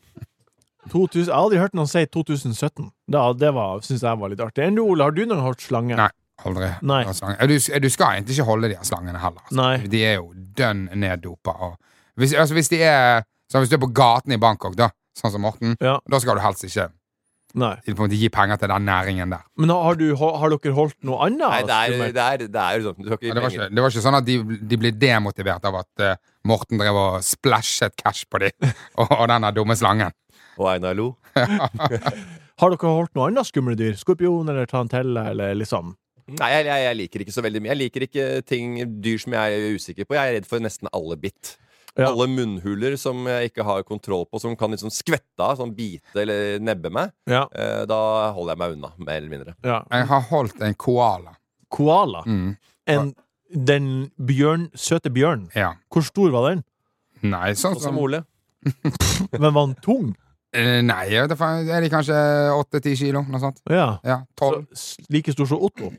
[SPEAKER 2] 2000, jeg har aldri hørt noen si 2017. Da, det var- syns jeg var litt artig. Enn du, Ole, har du noen gang holdt slange?
[SPEAKER 4] Nei, aldri.
[SPEAKER 2] Nei.
[SPEAKER 4] Og slange. Du, du skal egentlig ikke holde de her slangene heller. altså.
[SPEAKER 2] Nei.
[SPEAKER 4] De er jo dønn neddopa. Og hvis, altså, hvis de er sånn, Hvis du er på gaten i Bangkok, da, sånn som Morten,
[SPEAKER 2] Ja.
[SPEAKER 4] da skal du helst ikke
[SPEAKER 2] Nei.
[SPEAKER 4] på en måte, gi penger til den næringen der.
[SPEAKER 2] Men har, du, har dere holdt noe annet?
[SPEAKER 5] Nei, det er,
[SPEAKER 2] skummelt?
[SPEAKER 5] det er, det er jo sånn du skal
[SPEAKER 4] Ja,
[SPEAKER 5] ikke
[SPEAKER 4] Det var,
[SPEAKER 5] lenger-
[SPEAKER 4] ikke, det var ikke sånn at de, de ble demotivert av at eh, Morten drev og splashet cash på dem og, og den der dumme slangen.
[SPEAKER 5] Og Einar lo.
[SPEAKER 2] Har dere holdt noe annet skumle dyr? Skorpion eller tarantelle eller liksom?
[SPEAKER 5] Nei, jeg, jeg, jeg liker ikke så veldig mye. Jeg liker ikke ting, dyr som jeg er usikker på. Jeg er redd for nesten alle bitt.
[SPEAKER 2] Ja.
[SPEAKER 5] Alle munnhuler som jeg ikke har kontroll på, som kan liksom skvette av, sånn bite eller nebbe meg.
[SPEAKER 2] Ja.
[SPEAKER 5] Eh, da holder jeg meg unna, mer eller mindre.
[SPEAKER 2] ja.
[SPEAKER 4] Jeg har holdt en koala.
[SPEAKER 2] Koala.
[SPEAKER 4] Mm,
[SPEAKER 2] En, den bjørn, søte bjørnen.
[SPEAKER 4] ja.
[SPEAKER 2] Hvor stor var den?
[SPEAKER 4] Nei, sånn
[SPEAKER 5] Sånn
[SPEAKER 4] som
[SPEAKER 5] som Ole.
[SPEAKER 2] Men var den tung?
[SPEAKER 4] Eh, Nei, jeg vet da faen, er de kanskje åtte-ti kilo? Noe sånt?
[SPEAKER 2] Ja.
[SPEAKER 4] Ja,
[SPEAKER 2] Så,
[SPEAKER 4] tolv?
[SPEAKER 2] s- like stor som Otto?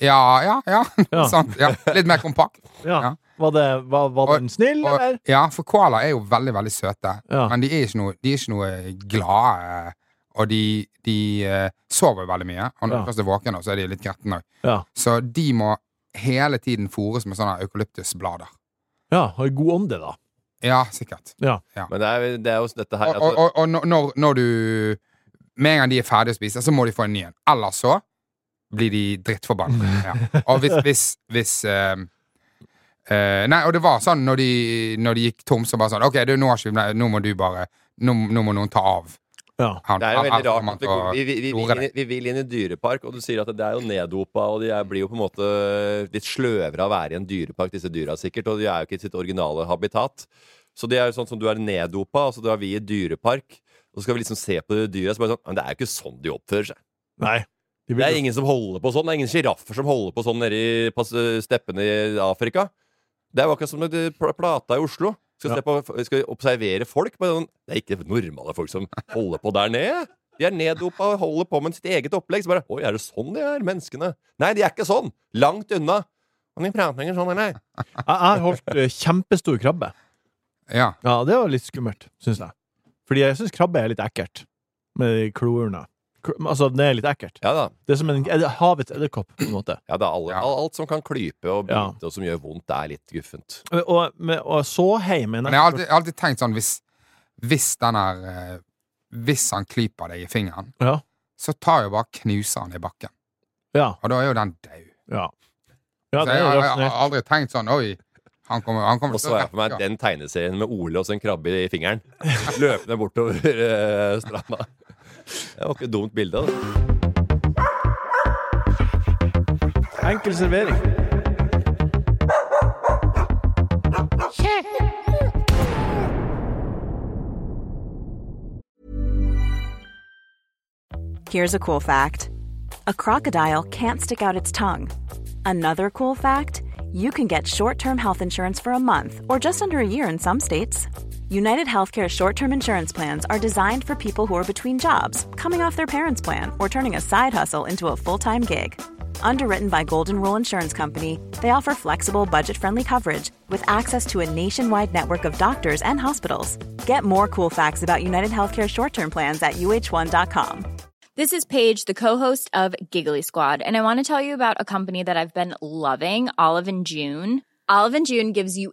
[SPEAKER 4] Ja, ja, ja.
[SPEAKER 2] Ja.
[SPEAKER 4] sant. Ja. Litt mer kompakt.
[SPEAKER 2] Ja.
[SPEAKER 4] Ja.
[SPEAKER 2] Var, det, var, var den snill,
[SPEAKER 4] Og,
[SPEAKER 2] eller?
[SPEAKER 4] ja, for koala er jo veldig, veldig søte.
[SPEAKER 2] Ja.
[SPEAKER 4] Men de er ikke noe, de er ikke noe glade. eh, Og de, de eh, sover veldig mye. Og når
[SPEAKER 2] Ja.
[SPEAKER 4] de først er våkne, så er de litt gretne òg.
[SPEAKER 2] Ja.
[SPEAKER 4] Så de må hele tiden fôres med sånne eukalyptusblader.
[SPEAKER 2] ja. Har god ånde, da.
[SPEAKER 4] Ja, sikkert.
[SPEAKER 2] Ja.
[SPEAKER 5] Men det er, det er jo dette her
[SPEAKER 4] Og, og,
[SPEAKER 5] altså,
[SPEAKER 4] og, og når, når du Med en gang de er ferdige å spise, så må de få en ny en. Ellers så blir de drittforbanna. Ja. Og hvis, hvis, hvis eh, eh, Nei, og det var sånn når de, når de gikk tom, så bare sånn OK, du, nå, har ikke, vi ble- nå må du bare Nå, nå må noen ta av.
[SPEAKER 2] Ja.
[SPEAKER 4] Han,
[SPEAKER 5] Det er jo
[SPEAKER 4] han- han-
[SPEAKER 5] veldig rart. at det
[SPEAKER 4] han-
[SPEAKER 5] går- Vi, vi, vi,
[SPEAKER 4] store
[SPEAKER 5] vi,
[SPEAKER 4] det.
[SPEAKER 5] vi vil inn i dyrepark, og du sier at det er jo neddopa, og de er, blir jo på en måte litt sløvere av å være i en dyrepark, disse dyra sikkert, og de er jo ikke i sitt originale habitat. Så det er jo sånn som du er neddopa, og så da er vi i dyrepark, og så skal vi liksom se på de dyra, så bare sånn Men det er jo ikke sånn de oppfører seg.
[SPEAKER 2] Nei. De
[SPEAKER 5] Det
[SPEAKER 2] blir-
[SPEAKER 5] er ingen som holder på sånn. Det er ingen sjiraffer som holder på sånn nede i pas- steppene i Afrika. Det er jo akkurat som med de pl- plata i Oslo. Skal,
[SPEAKER 2] Ja.
[SPEAKER 5] se på, skal observere folk. Men sånn, det er ikke normale folk som holder på der nede. De er neddopa og holder på med sitt eget opplegg. Så bare Oi, er det sånn de er, menneskene? Nei, de er ikke sånn! Langt unna. Men de prater ikke sånn, eller?
[SPEAKER 2] Jeg jeg har holdt eh, kjempestor krabbe.
[SPEAKER 4] Ja.
[SPEAKER 2] Ja, det var litt skummelt, syns jeg. Fordi jeg syns krabbe er litt ekkelt. Med de klourene. Kl- Altså, det er litt ekkelt.
[SPEAKER 5] Ja da.
[SPEAKER 2] Det er som en, er det havets edderkopp, på en måte.
[SPEAKER 5] Ja, da alle,
[SPEAKER 4] Ja.
[SPEAKER 5] Alt, alt som kan klype og bite
[SPEAKER 2] Ja.
[SPEAKER 5] og som gjør vondt, det er litt guffent.
[SPEAKER 2] Og, med, og så hei, men
[SPEAKER 4] Men jeg har alltid, jeg har alltid tenkt sånn Hvis, hvis den her eh, Hvis han klyper deg i fingeren,
[SPEAKER 2] Ja.
[SPEAKER 4] så tar jo bare knuser han i bakken.
[SPEAKER 2] Ja.
[SPEAKER 4] Og da er jo den daud.
[SPEAKER 2] Ja, ja
[SPEAKER 4] Så
[SPEAKER 2] det
[SPEAKER 4] jeg,
[SPEAKER 2] er
[SPEAKER 4] har- jeg,
[SPEAKER 2] rasjonelt.
[SPEAKER 4] har aldri tenkt sånn Oi, han kommer, han kommer
[SPEAKER 5] Og så er jeg for meg
[SPEAKER 4] ja.
[SPEAKER 5] den tegneserien med Ole og så en krabbe i fingeren. Løpende bortover eh, stranda. Det var ikke et dumt bilde. altså. Da.
[SPEAKER 2] Enkel servering.
[SPEAKER 6] Here's a cool fact a crocodile can't stick out its tongue. Another cool fact you can get short term health insurance for a month or just under a year in some states. United Healthcare short term insurance plans are designed for people who are between jobs, coming off their parents' plan, or turning a side hustle into a full time gig. Underwritten by Golden Rule Insurance Company, they offer flexible, budget friendly coverage with access to a nationwide network of doctors and hospitals. Get more cool facts about United Healthcare short term plans at uh1.com.
[SPEAKER 7] This is Paige, the co-host of Giggly Squad, and I want to tell you about a company that I've been loving, Olive and June. Olive and June gives you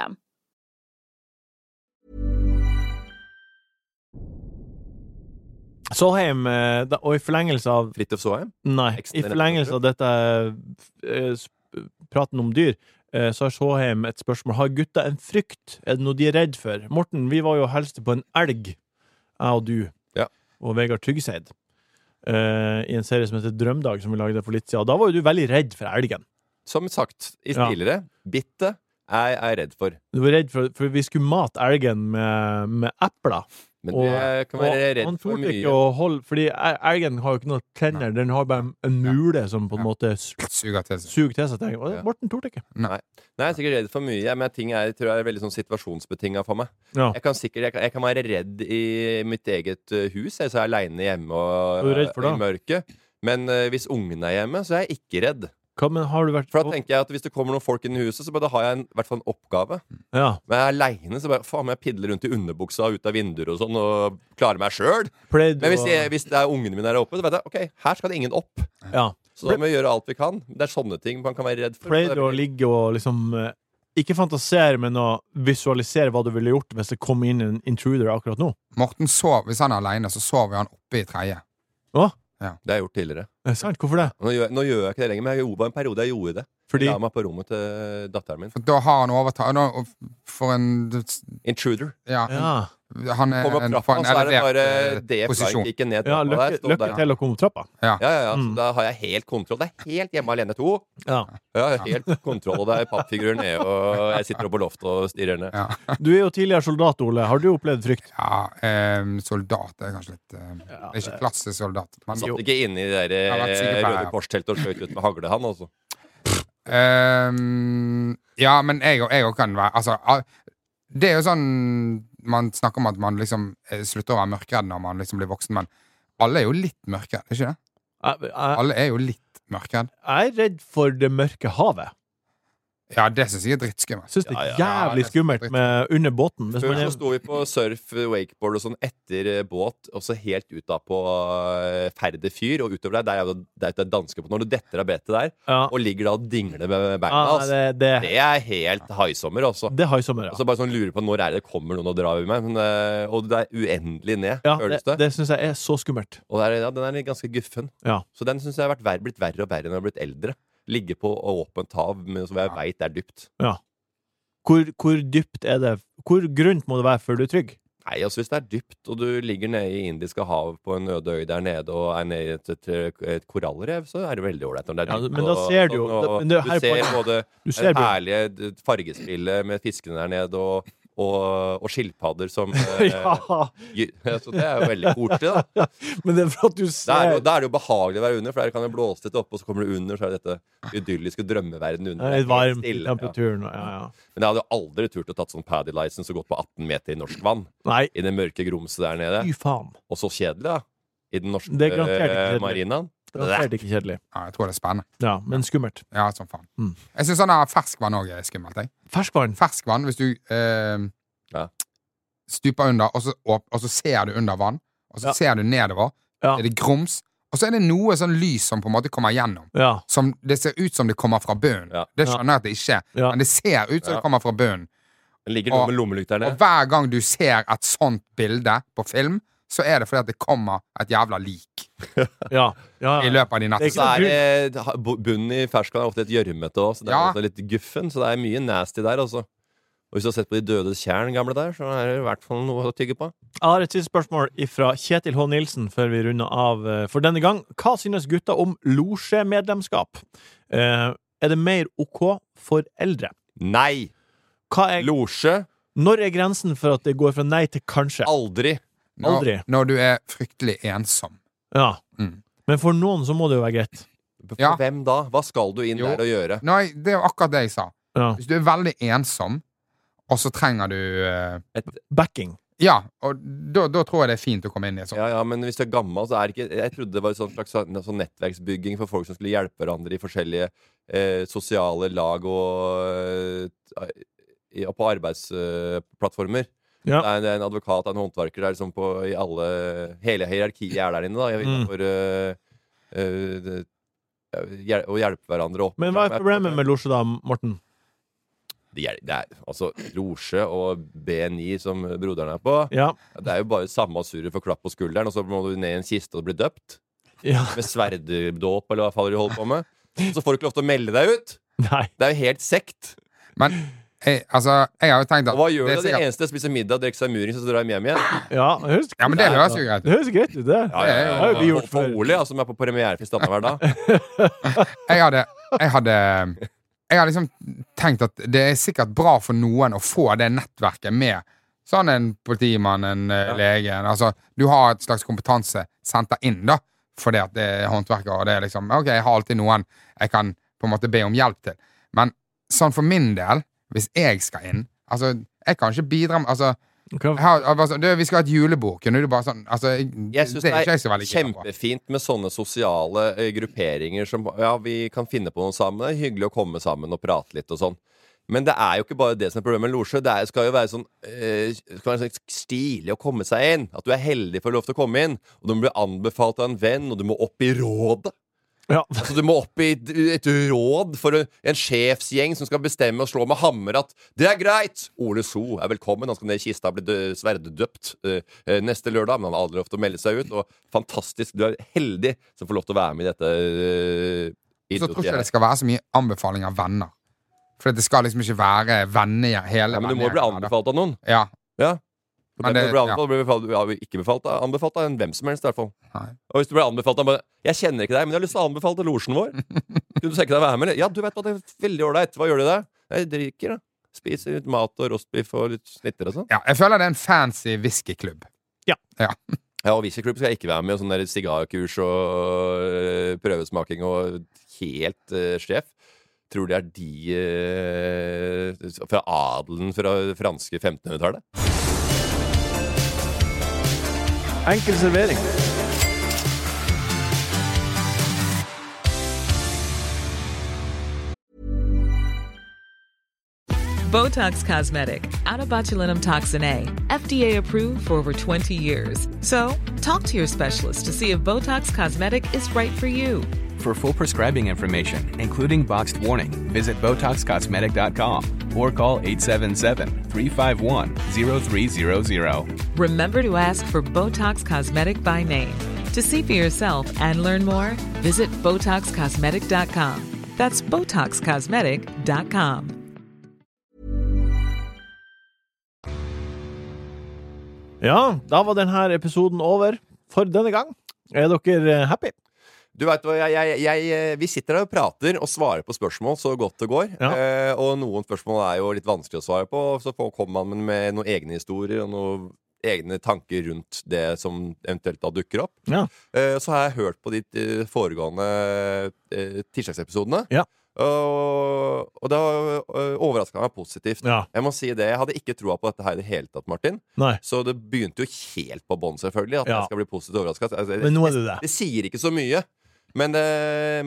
[SPEAKER 2] Soheim, eh, da- og i forlengelse av
[SPEAKER 5] Fridtjof Soheim.
[SPEAKER 2] Nei, i
[SPEAKER 5] Eksterne
[SPEAKER 2] forlengelse av dette eh, s- praten om dyr, eh, så har Soheim et spørsmål. Har gutta en frykt? Er det noe de er redd for? Morten, vi var jo og helste på en elg, jeg og du,
[SPEAKER 5] Ja.
[SPEAKER 2] og Vegard Tryggseid, eh, i en serie som heter Drømdag, som vi lagde for litt siden. Da var jo du veldig redd for elgen.
[SPEAKER 5] Som sagt i
[SPEAKER 2] Ja.
[SPEAKER 5] tidligere, bittet er jeg redd for.
[SPEAKER 2] Du var redd for, for vi skulle mate elgen med, med epler.
[SPEAKER 5] Men
[SPEAKER 2] Og-
[SPEAKER 5] det kan
[SPEAKER 2] Og
[SPEAKER 5] være
[SPEAKER 2] han
[SPEAKER 5] redd for
[SPEAKER 2] torde
[SPEAKER 5] mye.
[SPEAKER 2] ikke å holde Fordi el- elgen har jo ikke noen tenner, den har bare en mule som på en
[SPEAKER 4] Ja.
[SPEAKER 2] måte s-
[SPEAKER 4] Suger til seg.
[SPEAKER 2] suger til seg ting. Og det-
[SPEAKER 5] Ja.
[SPEAKER 2] Morten torde ikke.
[SPEAKER 5] Nei, jeg er sikkert redd for mye, men ting er, tror jeg er veldig sånn situasjonsbetinga for meg.
[SPEAKER 2] Ja.
[SPEAKER 5] Jeg kan sikkert, jeg kan, jeg kan være redd i mitt eget eh, hus. Jeg så er aleine hjemme
[SPEAKER 2] Er du
[SPEAKER 5] og, eh,
[SPEAKER 2] redd for
[SPEAKER 5] i mørket. Men eh, hvis ungene er hjemme, så er jeg ikke redd.
[SPEAKER 2] Hva, men har du vært
[SPEAKER 5] For da tenker jeg at hvis det kommer noen folk inn i huset, så bare, da har jeg en, i hvert fall en oppgave.
[SPEAKER 2] Ja.
[SPEAKER 5] Men jeg er aleine, så bare faen, jeg pidler rundt i underbuksa ut av vinduer og sånn og klarer meg sjøl.
[SPEAKER 2] Pleide
[SPEAKER 5] Men hvis,
[SPEAKER 2] å-
[SPEAKER 5] jeg, hvis det er ungene mine der oppe, så vet jeg ok, her skal det ingen opp.
[SPEAKER 2] ja.
[SPEAKER 5] Så da må vi gjøre alt vi kan. Det er sånne ting man kan være redd for.
[SPEAKER 2] Pleide du å ligge og liksom eh, Ikke fantasere, men å visualisere hva du ville gjort hvis det kom inn en intruder akkurat nå?
[SPEAKER 4] Morten sov, Hvis han er aleine, så sover han oppe i tredje.
[SPEAKER 5] Det har jeg gjort tidligere.
[SPEAKER 2] Er det sant? Hvorfor det?
[SPEAKER 5] Nå gjør, nå gjør jeg ikke det lenger, men jeg gjorde det en periode jeg gjorde det.
[SPEAKER 2] Fordi
[SPEAKER 5] Jeg la meg på rommet til datteren min.
[SPEAKER 4] For da har han overtatt nå- For en
[SPEAKER 5] Intruder.
[SPEAKER 4] Ja.
[SPEAKER 2] Ja,
[SPEAKER 4] Han er
[SPEAKER 5] Kom opp
[SPEAKER 4] en- på
[SPEAKER 5] trappa,
[SPEAKER 4] en
[SPEAKER 5] så er det
[SPEAKER 4] elevert,
[SPEAKER 5] bare
[SPEAKER 4] eh,
[SPEAKER 5] det
[SPEAKER 4] posisjon.
[SPEAKER 5] flagget ikke ned
[SPEAKER 2] ja
[SPEAKER 5] trappa
[SPEAKER 2] lykke,
[SPEAKER 5] der. Stå
[SPEAKER 2] lykke
[SPEAKER 5] der.
[SPEAKER 2] til å komme opp trappa.
[SPEAKER 5] Ja, ja, ja.
[SPEAKER 2] Mm.
[SPEAKER 5] Så da har jeg helt kontroll. Det er helt hjemme alene to.
[SPEAKER 2] Ja.
[SPEAKER 5] Ja, helt kontroll, og det er pappfigurer nede, og jeg sitter oppe på loftet og stirrer ned.
[SPEAKER 4] Ja.
[SPEAKER 2] Du er jo tidligere soldat, Ole. Har du opplevd frykt?
[SPEAKER 4] Ja, ehm, soldat er kanskje litt ehm, Det
[SPEAKER 2] eh,
[SPEAKER 4] er ikke klassisk soldat. Men,
[SPEAKER 5] Satt ikke inne i det der,
[SPEAKER 4] Jeg har vært
[SPEAKER 5] eh,
[SPEAKER 4] sykepleier,
[SPEAKER 5] Røde
[SPEAKER 4] ja.
[SPEAKER 5] Kors-teltet og skjøt ut med hagle, han altså.
[SPEAKER 4] Ehm, Ja, men jeg og jeg og kan være altså, al- Det er jo sånn man snakker om at man liksom eh, slutter å være mørkredd når man liksom blir voksen, men alle er jo litt mørkredd, er ikke det?
[SPEAKER 2] Jeg, jeg,
[SPEAKER 4] Alle er jo litt mørkredd.
[SPEAKER 2] jeg er redd for det mørke havet.
[SPEAKER 4] Ja, det syns jeg er drittskummelt.
[SPEAKER 2] Syns det
[SPEAKER 5] Ja,
[SPEAKER 2] er
[SPEAKER 5] ja,
[SPEAKER 4] ja,
[SPEAKER 2] jævlig
[SPEAKER 4] det er
[SPEAKER 2] skummelt
[SPEAKER 4] dritt.
[SPEAKER 2] med under båten. Hvis
[SPEAKER 5] Før
[SPEAKER 2] man
[SPEAKER 5] så
[SPEAKER 2] er,
[SPEAKER 5] sto vi på surf, wakeboard og sånn etter eh, båt, og så helt ut da på eh, Færde fyr, og utover der, der er jo det er jo et danskebåt. Når du detter av brettet der,
[SPEAKER 2] ja.
[SPEAKER 5] og ligger da og dingler med beina,
[SPEAKER 2] Ja, nei,
[SPEAKER 5] altså.
[SPEAKER 2] det, det,
[SPEAKER 5] Det er helt haisommer, altså.
[SPEAKER 2] det har jeg sommer,
[SPEAKER 5] Og
[SPEAKER 2] ja.
[SPEAKER 5] så bare sånn lurer på når er det kommer noen og drar i meg, men, eh, og det er uendelig ned,
[SPEAKER 2] ja
[SPEAKER 5] føles
[SPEAKER 2] det
[SPEAKER 5] det.
[SPEAKER 2] det syns jeg er så skummelt.
[SPEAKER 5] Og det er, ja, den er ganske guffen.
[SPEAKER 2] Ja.
[SPEAKER 5] Så den syns jeg har vært verre, blitt verre og verre når jeg har blitt eldre. Ligge på åpent hav, men som jeg veit er dypt.
[SPEAKER 2] Hvor, hvor dypt er det Hvor grunt må det være før du er trygg?
[SPEAKER 5] Nei, altså hvis det er dypt, og du ligger nede i Indiske hav på en øde øy der nede og er nede i et, et, et korallrev, så er det veldig ålreit når det er
[SPEAKER 2] Ja,
[SPEAKER 5] dypt.
[SPEAKER 2] men da
[SPEAKER 5] og-
[SPEAKER 2] ser du jo-
[SPEAKER 5] og- og
[SPEAKER 2] men det er
[SPEAKER 5] Du
[SPEAKER 2] her
[SPEAKER 5] ser
[SPEAKER 2] på-
[SPEAKER 5] både
[SPEAKER 2] Du
[SPEAKER 5] det
[SPEAKER 2] ser bra.
[SPEAKER 5] ærlige d- fargespillet med fiskene der nede og, og, og skilpadder som eh,
[SPEAKER 2] Ja,
[SPEAKER 5] gy- Så det er jo veldig koselig, da.
[SPEAKER 2] men det er for at du
[SPEAKER 5] Da er, det
[SPEAKER 2] ser
[SPEAKER 5] jo, da er det jo behagelig å være under, for der kan det blåse litt oppe, og så kommer du under, så er det dette idylliske drømmeverdenen
[SPEAKER 2] Det
[SPEAKER 5] under.
[SPEAKER 2] er litt
[SPEAKER 5] helt
[SPEAKER 2] varmt i
[SPEAKER 5] stille, ja.
[SPEAKER 2] temperaturen. og- Ja, ja.
[SPEAKER 5] Men jeg hadde jo aldri turt å tatt sånn paddy license og gått på 18 meter i norsk vann.
[SPEAKER 2] Nei,
[SPEAKER 5] I det mørke grumset der nede.
[SPEAKER 2] fy faen.
[SPEAKER 5] Og så kjedelig, da. I den norske
[SPEAKER 2] Det er garantert ikke
[SPEAKER 5] eh,
[SPEAKER 2] kjedelig.
[SPEAKER 5] marinaen.
[SPEAKER 2] Det er helt ikke kjedelig.
[SPEAKER 4] Ja, jeg tror det er spennende.
[SPEAKER 2] Ja, men skummelt.
[SPEAKER 4] Ja, som faen.
[SPEAKER 2] Mm.
[SPEAKER 4] Jeg syns sånn her ferskvann òg er skummelt. Jeg.
[SPEAKER 2] Ferskvann.
[SPEAKER 4] Ferskvann, hvis du eh,
[SPEAKER 5] Ja.
[SPEAKER 4] stuper under, og så, opp, og så ser du under vann, og så
[SPEAKER 2] Ja.
[SPEAKER 4] ser du nedover,
[SPEAKER 2] Ja.
[SPEAKER 4] er det grums, og så er det noe sånn lys som på en måte kommer gjennom.
[SPEAKER 2] Ja.
[SPEAKER 4] Som det ser ut som det kommer fra bunnen.
[SPEAKER 5] Ja.
[SPEAKER 4] Det skjønner jeg at det ikke er,
[SPEAKER 2] Ja.
[SPEAKER 4] men det ser ut som
[SPEAKER 5] Ja.
[SPEAKER 4] det kommer fra bunnen.
[SPEAKER 5] Det ligger noe
[SPEAKER 4] Og-
[SPEAKER 5] med lommelykt der
[SPEAKER 4] Ah. Og
[SPEAKER 5] nede.
[SPEAKER 4] hver gang du ser et sånt bilde på film, så er det fordi at det kommer et jævla lik
[SPEAKER 2] Ja. ja,
[SPEAKER 4] i
[SPEAKER 2] ja.
[SPEAKER 4] løpet av de
[SPEAKER 2] Det er
[SPEAKER 4] neste
[SPEAKER 2] ikke
[SPEAKER 5] Så er det, ha- bu- bunnen i ferskvann er ofte litt gjørmete òg, så det er
[SPEAKER 4] Ja.
[SPEAKER 5] også litt guffen. Så det er mye nasty der, altså. Og hvis du har sett på De dødes tjern, gamle der, så er det i hvert fall noe å tygge på.
[SPEAKER 2] Jeg har et siste spørsmål fra Kjetil H. Nilsen før vi runder av eh, for denne gang. Hva synes gutta om losjemedlemskap? Eh, Er det mer OK for eldre?
[SPEAKER 5] Nei!
[SPEAKER 2] Hva er,
[SPEAKER 5] Losje?
[SPEAKER 2] når er grensen for at det går fra nei til kanskje?
[SPEAKER 5] Aldri.
[SPEAKER 4] når,
[SPEAKER 2] Aldri.
[SPEAKER 4] når du er fryktelig ensom.
[SPEAKER 2] Ja.
[SPEAKER 4] Mm.
[SPEAKER 2] Men for noen så må det jo være greit.
[SPEAKER 5] For
[SPEAKER 4] Ja.
[SPEAKER 5] hvem da? Hva skal du inn
[SPEAKER 4] Jo.
[SPEAKER 5] der og gjøre?
[SPEAKER 4] Nei, det er jo akkurat det jeg sa.
[SPEAKER 2] Ja.
[SPEAKER 4] Hvis du er veldig ensom, og så trenger du eh,
[SPEAKER 2] Backing.
[SPEAKER 4] Ja, og da, da tror jeg det er fint å komme inn i sånn. et sånt.
[SPEAKER 5] Ja, ja, men hvis du er gammel, så er det ikke Jeg trodde det var en sånn slags sånn sånn nettverksbygging for folk som skulle hjelpe hverandre i forskjellige eh, sosiale lag og, eh, i- og på arbeidsplattformer.
[SPEAKER 2] Ja.
[SPEAKER 5] Det, er en, det er en advokat og en håndverker der liksom på, i alle Hele hierarkiet er der inne, da. Jeg vet,
[SPEAKER 2] Mm.
[SPEAKER 5] for, eh, eh, det- ja, hjel- å hjelpe hverandre opp.
[SPEAKER 2] Men hva er problemet med losje, da, Morten?
[SPEAKER 5] Det er, det er, altså, Rosje og B9, som broderen er på,
[SPEAKER 2] Ja.
[SPEAKER 5] det er jo bare samme surret for klapp på skulderen, og så må du ned i en kiste og bli døpt.
[SPEAKER 2] ja.
[SPEAKER 5] med sverddåp eller hva faller de holder på med. Så får du ikke lov til å melde deg ut!
[SPEAKER 2] Nei.
[SPEAKER 5] Det er jo helt sekt.
[SPEAKER 4] Men jeg, altså, jeg har jo tenkt at
[SPEAKER 5] Og hva
[SPEAKER 4] det
[SPEAKER 5] gjør du?
[SPEAKER 4] er
[SPEAKER 5] Det
[SPEAKER 4] sikkert-
[SPEAKER 5] eneste spiser middag, drikker seg murings og så drar de hjem igjen.
[SPEAKER 2] Ja, det høres,
[SPEAKER 4] Ja, men det høres jo greit ut.
[SPEAKER 2] det høres greit ut, det.
[SPEAKER 5] Ja, ja, ja,
[SPEAKER 2] Det har jo vi gjort
[SPEAKER 5] Og for
[SPEAKER 2] før.
[SPEAKER 5] Ole, ja, som er på premierefest annenhver dag.
[SPEAKER 4] Jeg hadde Jeg hadde jeg har liksom tenkt at det er sikkert bra for noen å få det nettverket med sånn en politimann, en eh, lege en- Altså, du har et slags kompetansesenter inn, da, fordi at det er håndverkere, og det er liksom Ok, jeg har alltid noen jeg kan på en måte be om hjelp til. Men sånn for min del, hvis jeg skal inn Altså, jeg kan ikke bidra med Altså,
[SPEAKER 2] Hva-
[SPEAKER 4] jeg har, altså du, vi skal ha et julebord. Kunne du bare sånn altså, jeg,
[SPEAKER 5] Jeg syns det
[SPEAKER 4] er ikke jeg
[SPEAKER 5] er
[SPEAKER 4] så veldig gira på.
[SPEAKER 5] kjempefint med sånne sosiale eh, grupperinger som Ja, vi kan finne på noe sammen. Det er hyggelig å komme sammen og prate litt og sånn. Men det er jo ikke bare det som er problemet med losje. Det er, skal jo være sånn eh, det skal være sånn stilig å komme seg inn. At du er heldig for å få lov til å komme inn. Og du må bli anbefalt av en venn, og du må opp i rådet.
[SPEAKER 2] Ja.
[SPEAKER 5] Altså, du må opp i et- et råd for en en sjefsgjeng som skal bestemme og slå med hammer at det er greit! Ole So er velkommen. Han skal ned i kista og bli dø- sverddøpt eh, eh, neste lørdag, men han har aldri lov til å melde seg ut. Og fantastisk, du er heldig som får lov til å være med i dette
[SPEAKER 4] Så tror
[SPEAKER 5] eh, uh,
[SPEAKER 4] ikke
[SPEAKER 5] idiotiet
[SPEAKER 4] jeg det
[SPEAKER 5] her.
[SPEAKER 4] skal være så mye anbefaling av venner. For det skal liksom ikke være vennegjeng, hele
[SPEAKER 5] Ja, men du må jo
[SPEAKER 4] vennegjengen
[SPEAKER 5] bli
[SPEAKER 4] her, da.
[SPEAKER 5] anbefalt av noen.
[SPEAKER 4] Ja.
[SPEAKER 5] Ja.
[SPEAKER 4] Men
[SPEAKER 5] Men
[SPEAKER 4] det-
[SPEAKER 5] du blir anbefalt, blir befalt, ja, ikke befalt, da. anbefalt av en hvem som helst, i hvert fall.
[SPEAKER 4] Nei.
[SPEAKER 5] Og hvis du blir anbefalt av bare, Jeg kjenner ikke deg, men jeg har lyst til å anbefale til losjen vår. Kunne du tenke deg å være med? eller? Ja, du vet hva, det er veldig ålreit. Hva gjør du der? Jeg drikker, da. Spiser litt mat og rostbiff og litt snitter og sånn.
[SPEAKER 4] Ja, jeg føler det er en fancy whiskyklubb.
[SPEAKER 5] Ja, og Wieserklubb skal jeg ikke være med, og sånn der sigarkurs og øh, prøvesmaking og helt øh, sjef. Tror det er de eh, fra adelen fra det franske 1500-tallet?
[SPEAKER 2] Enkel servering.
[SPEAKER 8] Botox Cosmetic, out of botulinum toxin A, FDA approved for over 20 years. So, talk to your specialist to see if Botox Cosmetic is right for you.
[SPEAKER 9] For full prescribing information, including boxed warning, visit BotoxCosmetic.com or call 877-351-0300.
[SPEAKER 8] Remember to ask for Botox Cosmetic by name. To see for yourself and learn more, visit BotoxCosmetic.com. That's BotoxCosmetic.com.
[SPEAKER 2] Ja, da var denne episoden over for denne gang. Er dere eh, happy?
[SPEAKER 5] Du vet hva, jeg, jeg, jeg, eh, Vi sitter her og prater og svarer på spørsmål så godt det går.
[SPEAKER 2] Ja.
[SPEAKER 5] Eh, og noen spørsmål er jo litt vanskelig å svare på, og så får- kommer man med noen egne historier og noen egne tanker rundt det som eventuelt da dukker opp.
[SPEAKER 2] Ja.
[SPEAKER 5] Eh, så har jeg hørt på de eh, foregående eh, tirsdagsepisodene.
[SPEAKER 2] Ja.
[SPEAKER 5] Og, og det har overraska meg positivt.
[SPEAKER 2] Ja.
[SPEAKER 5] Jeg må si det, jeg hadde ikke troa på dette her i det hele tatt, Martin.
[SPEAKER 2] Nei.
[SPEAKER 5] Så det begynte jo helt på bånn, selvfølgelig. At
[SPEAKER 2] Ja.
[SPEAKER 5] jeg skal bli positivt overraska. Altså,
[SPEAKER 2] Men nå er du det.
[SPEAKER 5] det sier ikke så mye. Men det,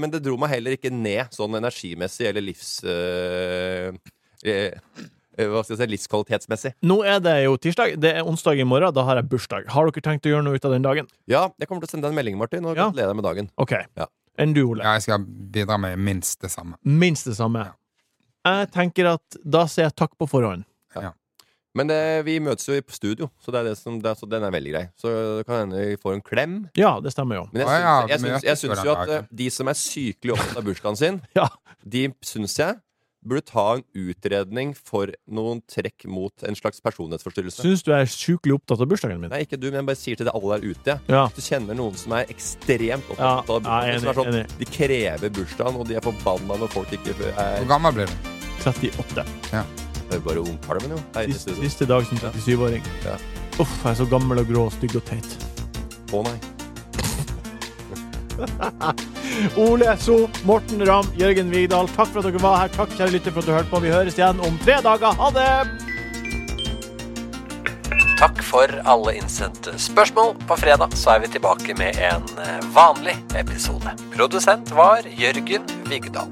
[SPEAKER 5] men det dro meg heller ikke ned sånn energimessig eller livs... øh, eh, eh, hva skal jeg si? Livskvalitetsmessig.
[SPEAKER 2] Nå er det jo tirsdag. Det er onsdag i morgen. Da har jeg bursdag. Har dere tenkt å gjøre noe ut av den dagen?
[SPEAKER 5] Ja, jeg kommer til å sende deg en melding, Martin, og
[SPEAKER 2] Ja.
[SPEAKER 5] gratulerer deg med dagen.
[SPEAKER 2] OK.
[SPEAKER 5] Ja.
[SPEAKER 2] Enn du, Ole?
[SPEAKER 4] Ja, jeg skal bidra med minst det samme.
[SPEAKER 2] Minst det samme. Jeg tenker at da sier jeg takk på forhånd.
[SPEAKER 5] Men eh, vi møtes jo i studio, så, det er det som, det er, så den er veldig grei. Så det kan hende vi får en klem.
[SPEAKER 2] Ja, det stemmer jo.
[SPEAKER 5] Men jeg
[SPEAKER 4] Å ja,
[SPEAKER 5] syns, jeg
[SPEAKER 4] vi
[SPEAKER 5] syns,
[SPEAKER 4] møtes
[SPEAKER 5] jeg
[SPEAKER 4] på
[SPEAKER 5] syns
[SPEAKER 4] den
[SPEAKER 5] jo at
[SPEAKER 4] dagen.
[SPEAKER 5] eh, de som er sykelig opptatt av bursdagen sin,
[SPEAKER 2] Ja.
[SPEAKER 5] de syns jeg burde ta en utredning for noen trekk mot en slags personlighetsforstyrrelse.
[SPEAKER 2] Syns du jeg er sjukelig opptatt av bursdagen min?
[SPEAKER 5] Nei, ikke du, men jeg bare sier til deg alle der ute. jeg.
[SPEAKER 2] Ja.
[SPEAKER 5] Hvis du kjenner noen som er ekstremt
[SPEAKER 2] Ja,
[SPEAKER 5] opptatt av
[SPEAKER 2] ja,
[SPEAKER 5] bursdagen, som er sånn,
[SPEAKER 2] enig, enig.
[SPEAKER 5] de krever bursdagen, og de er forbanna når folk ikke er
[SPEAKER 4] Hvor gammel blir du?
[SPEAKER 2] 38.
[SPEAKER 5] Det er jo bare ungkalven, jo. Her inne i
[SPEAKER 2] Siste,
[SPEAKER 5] studio.
[SPEAKER 2] siste dag som 37-åring.
[SPEAKER 5] Ja.
[SPEAKER 2] Uff, jeg er så gammel og grå og stygg og teit.
[SPEAKER 5] Å nei.
[SPEAKER 2] Ole So, Morten Ramm, Jørgen Vigdal, takk for at dere var her. Takk, kjære lytter, for at du hørte på. Vi høres igjen om tre dager. Ha det!
[SPEAKER 10] Takk for alle innsendte spørsmål. På fredag så er vi tilbake med en eh, vanlig episode. Produsent var Jørgen Vigdal.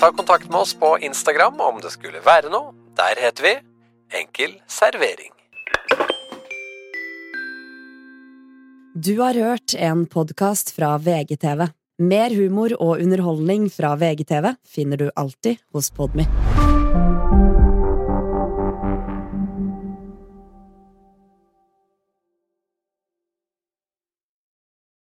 [SPEAKER 10] Ta kontakt med oss på Instagram om det skulle være noe. Der heter vi Enkel servering.
[SPEAKER 1] Du har hørt en podkast fra VGTV. Mer humor og underholdning fra VGTV finner du alltid hos Podmy.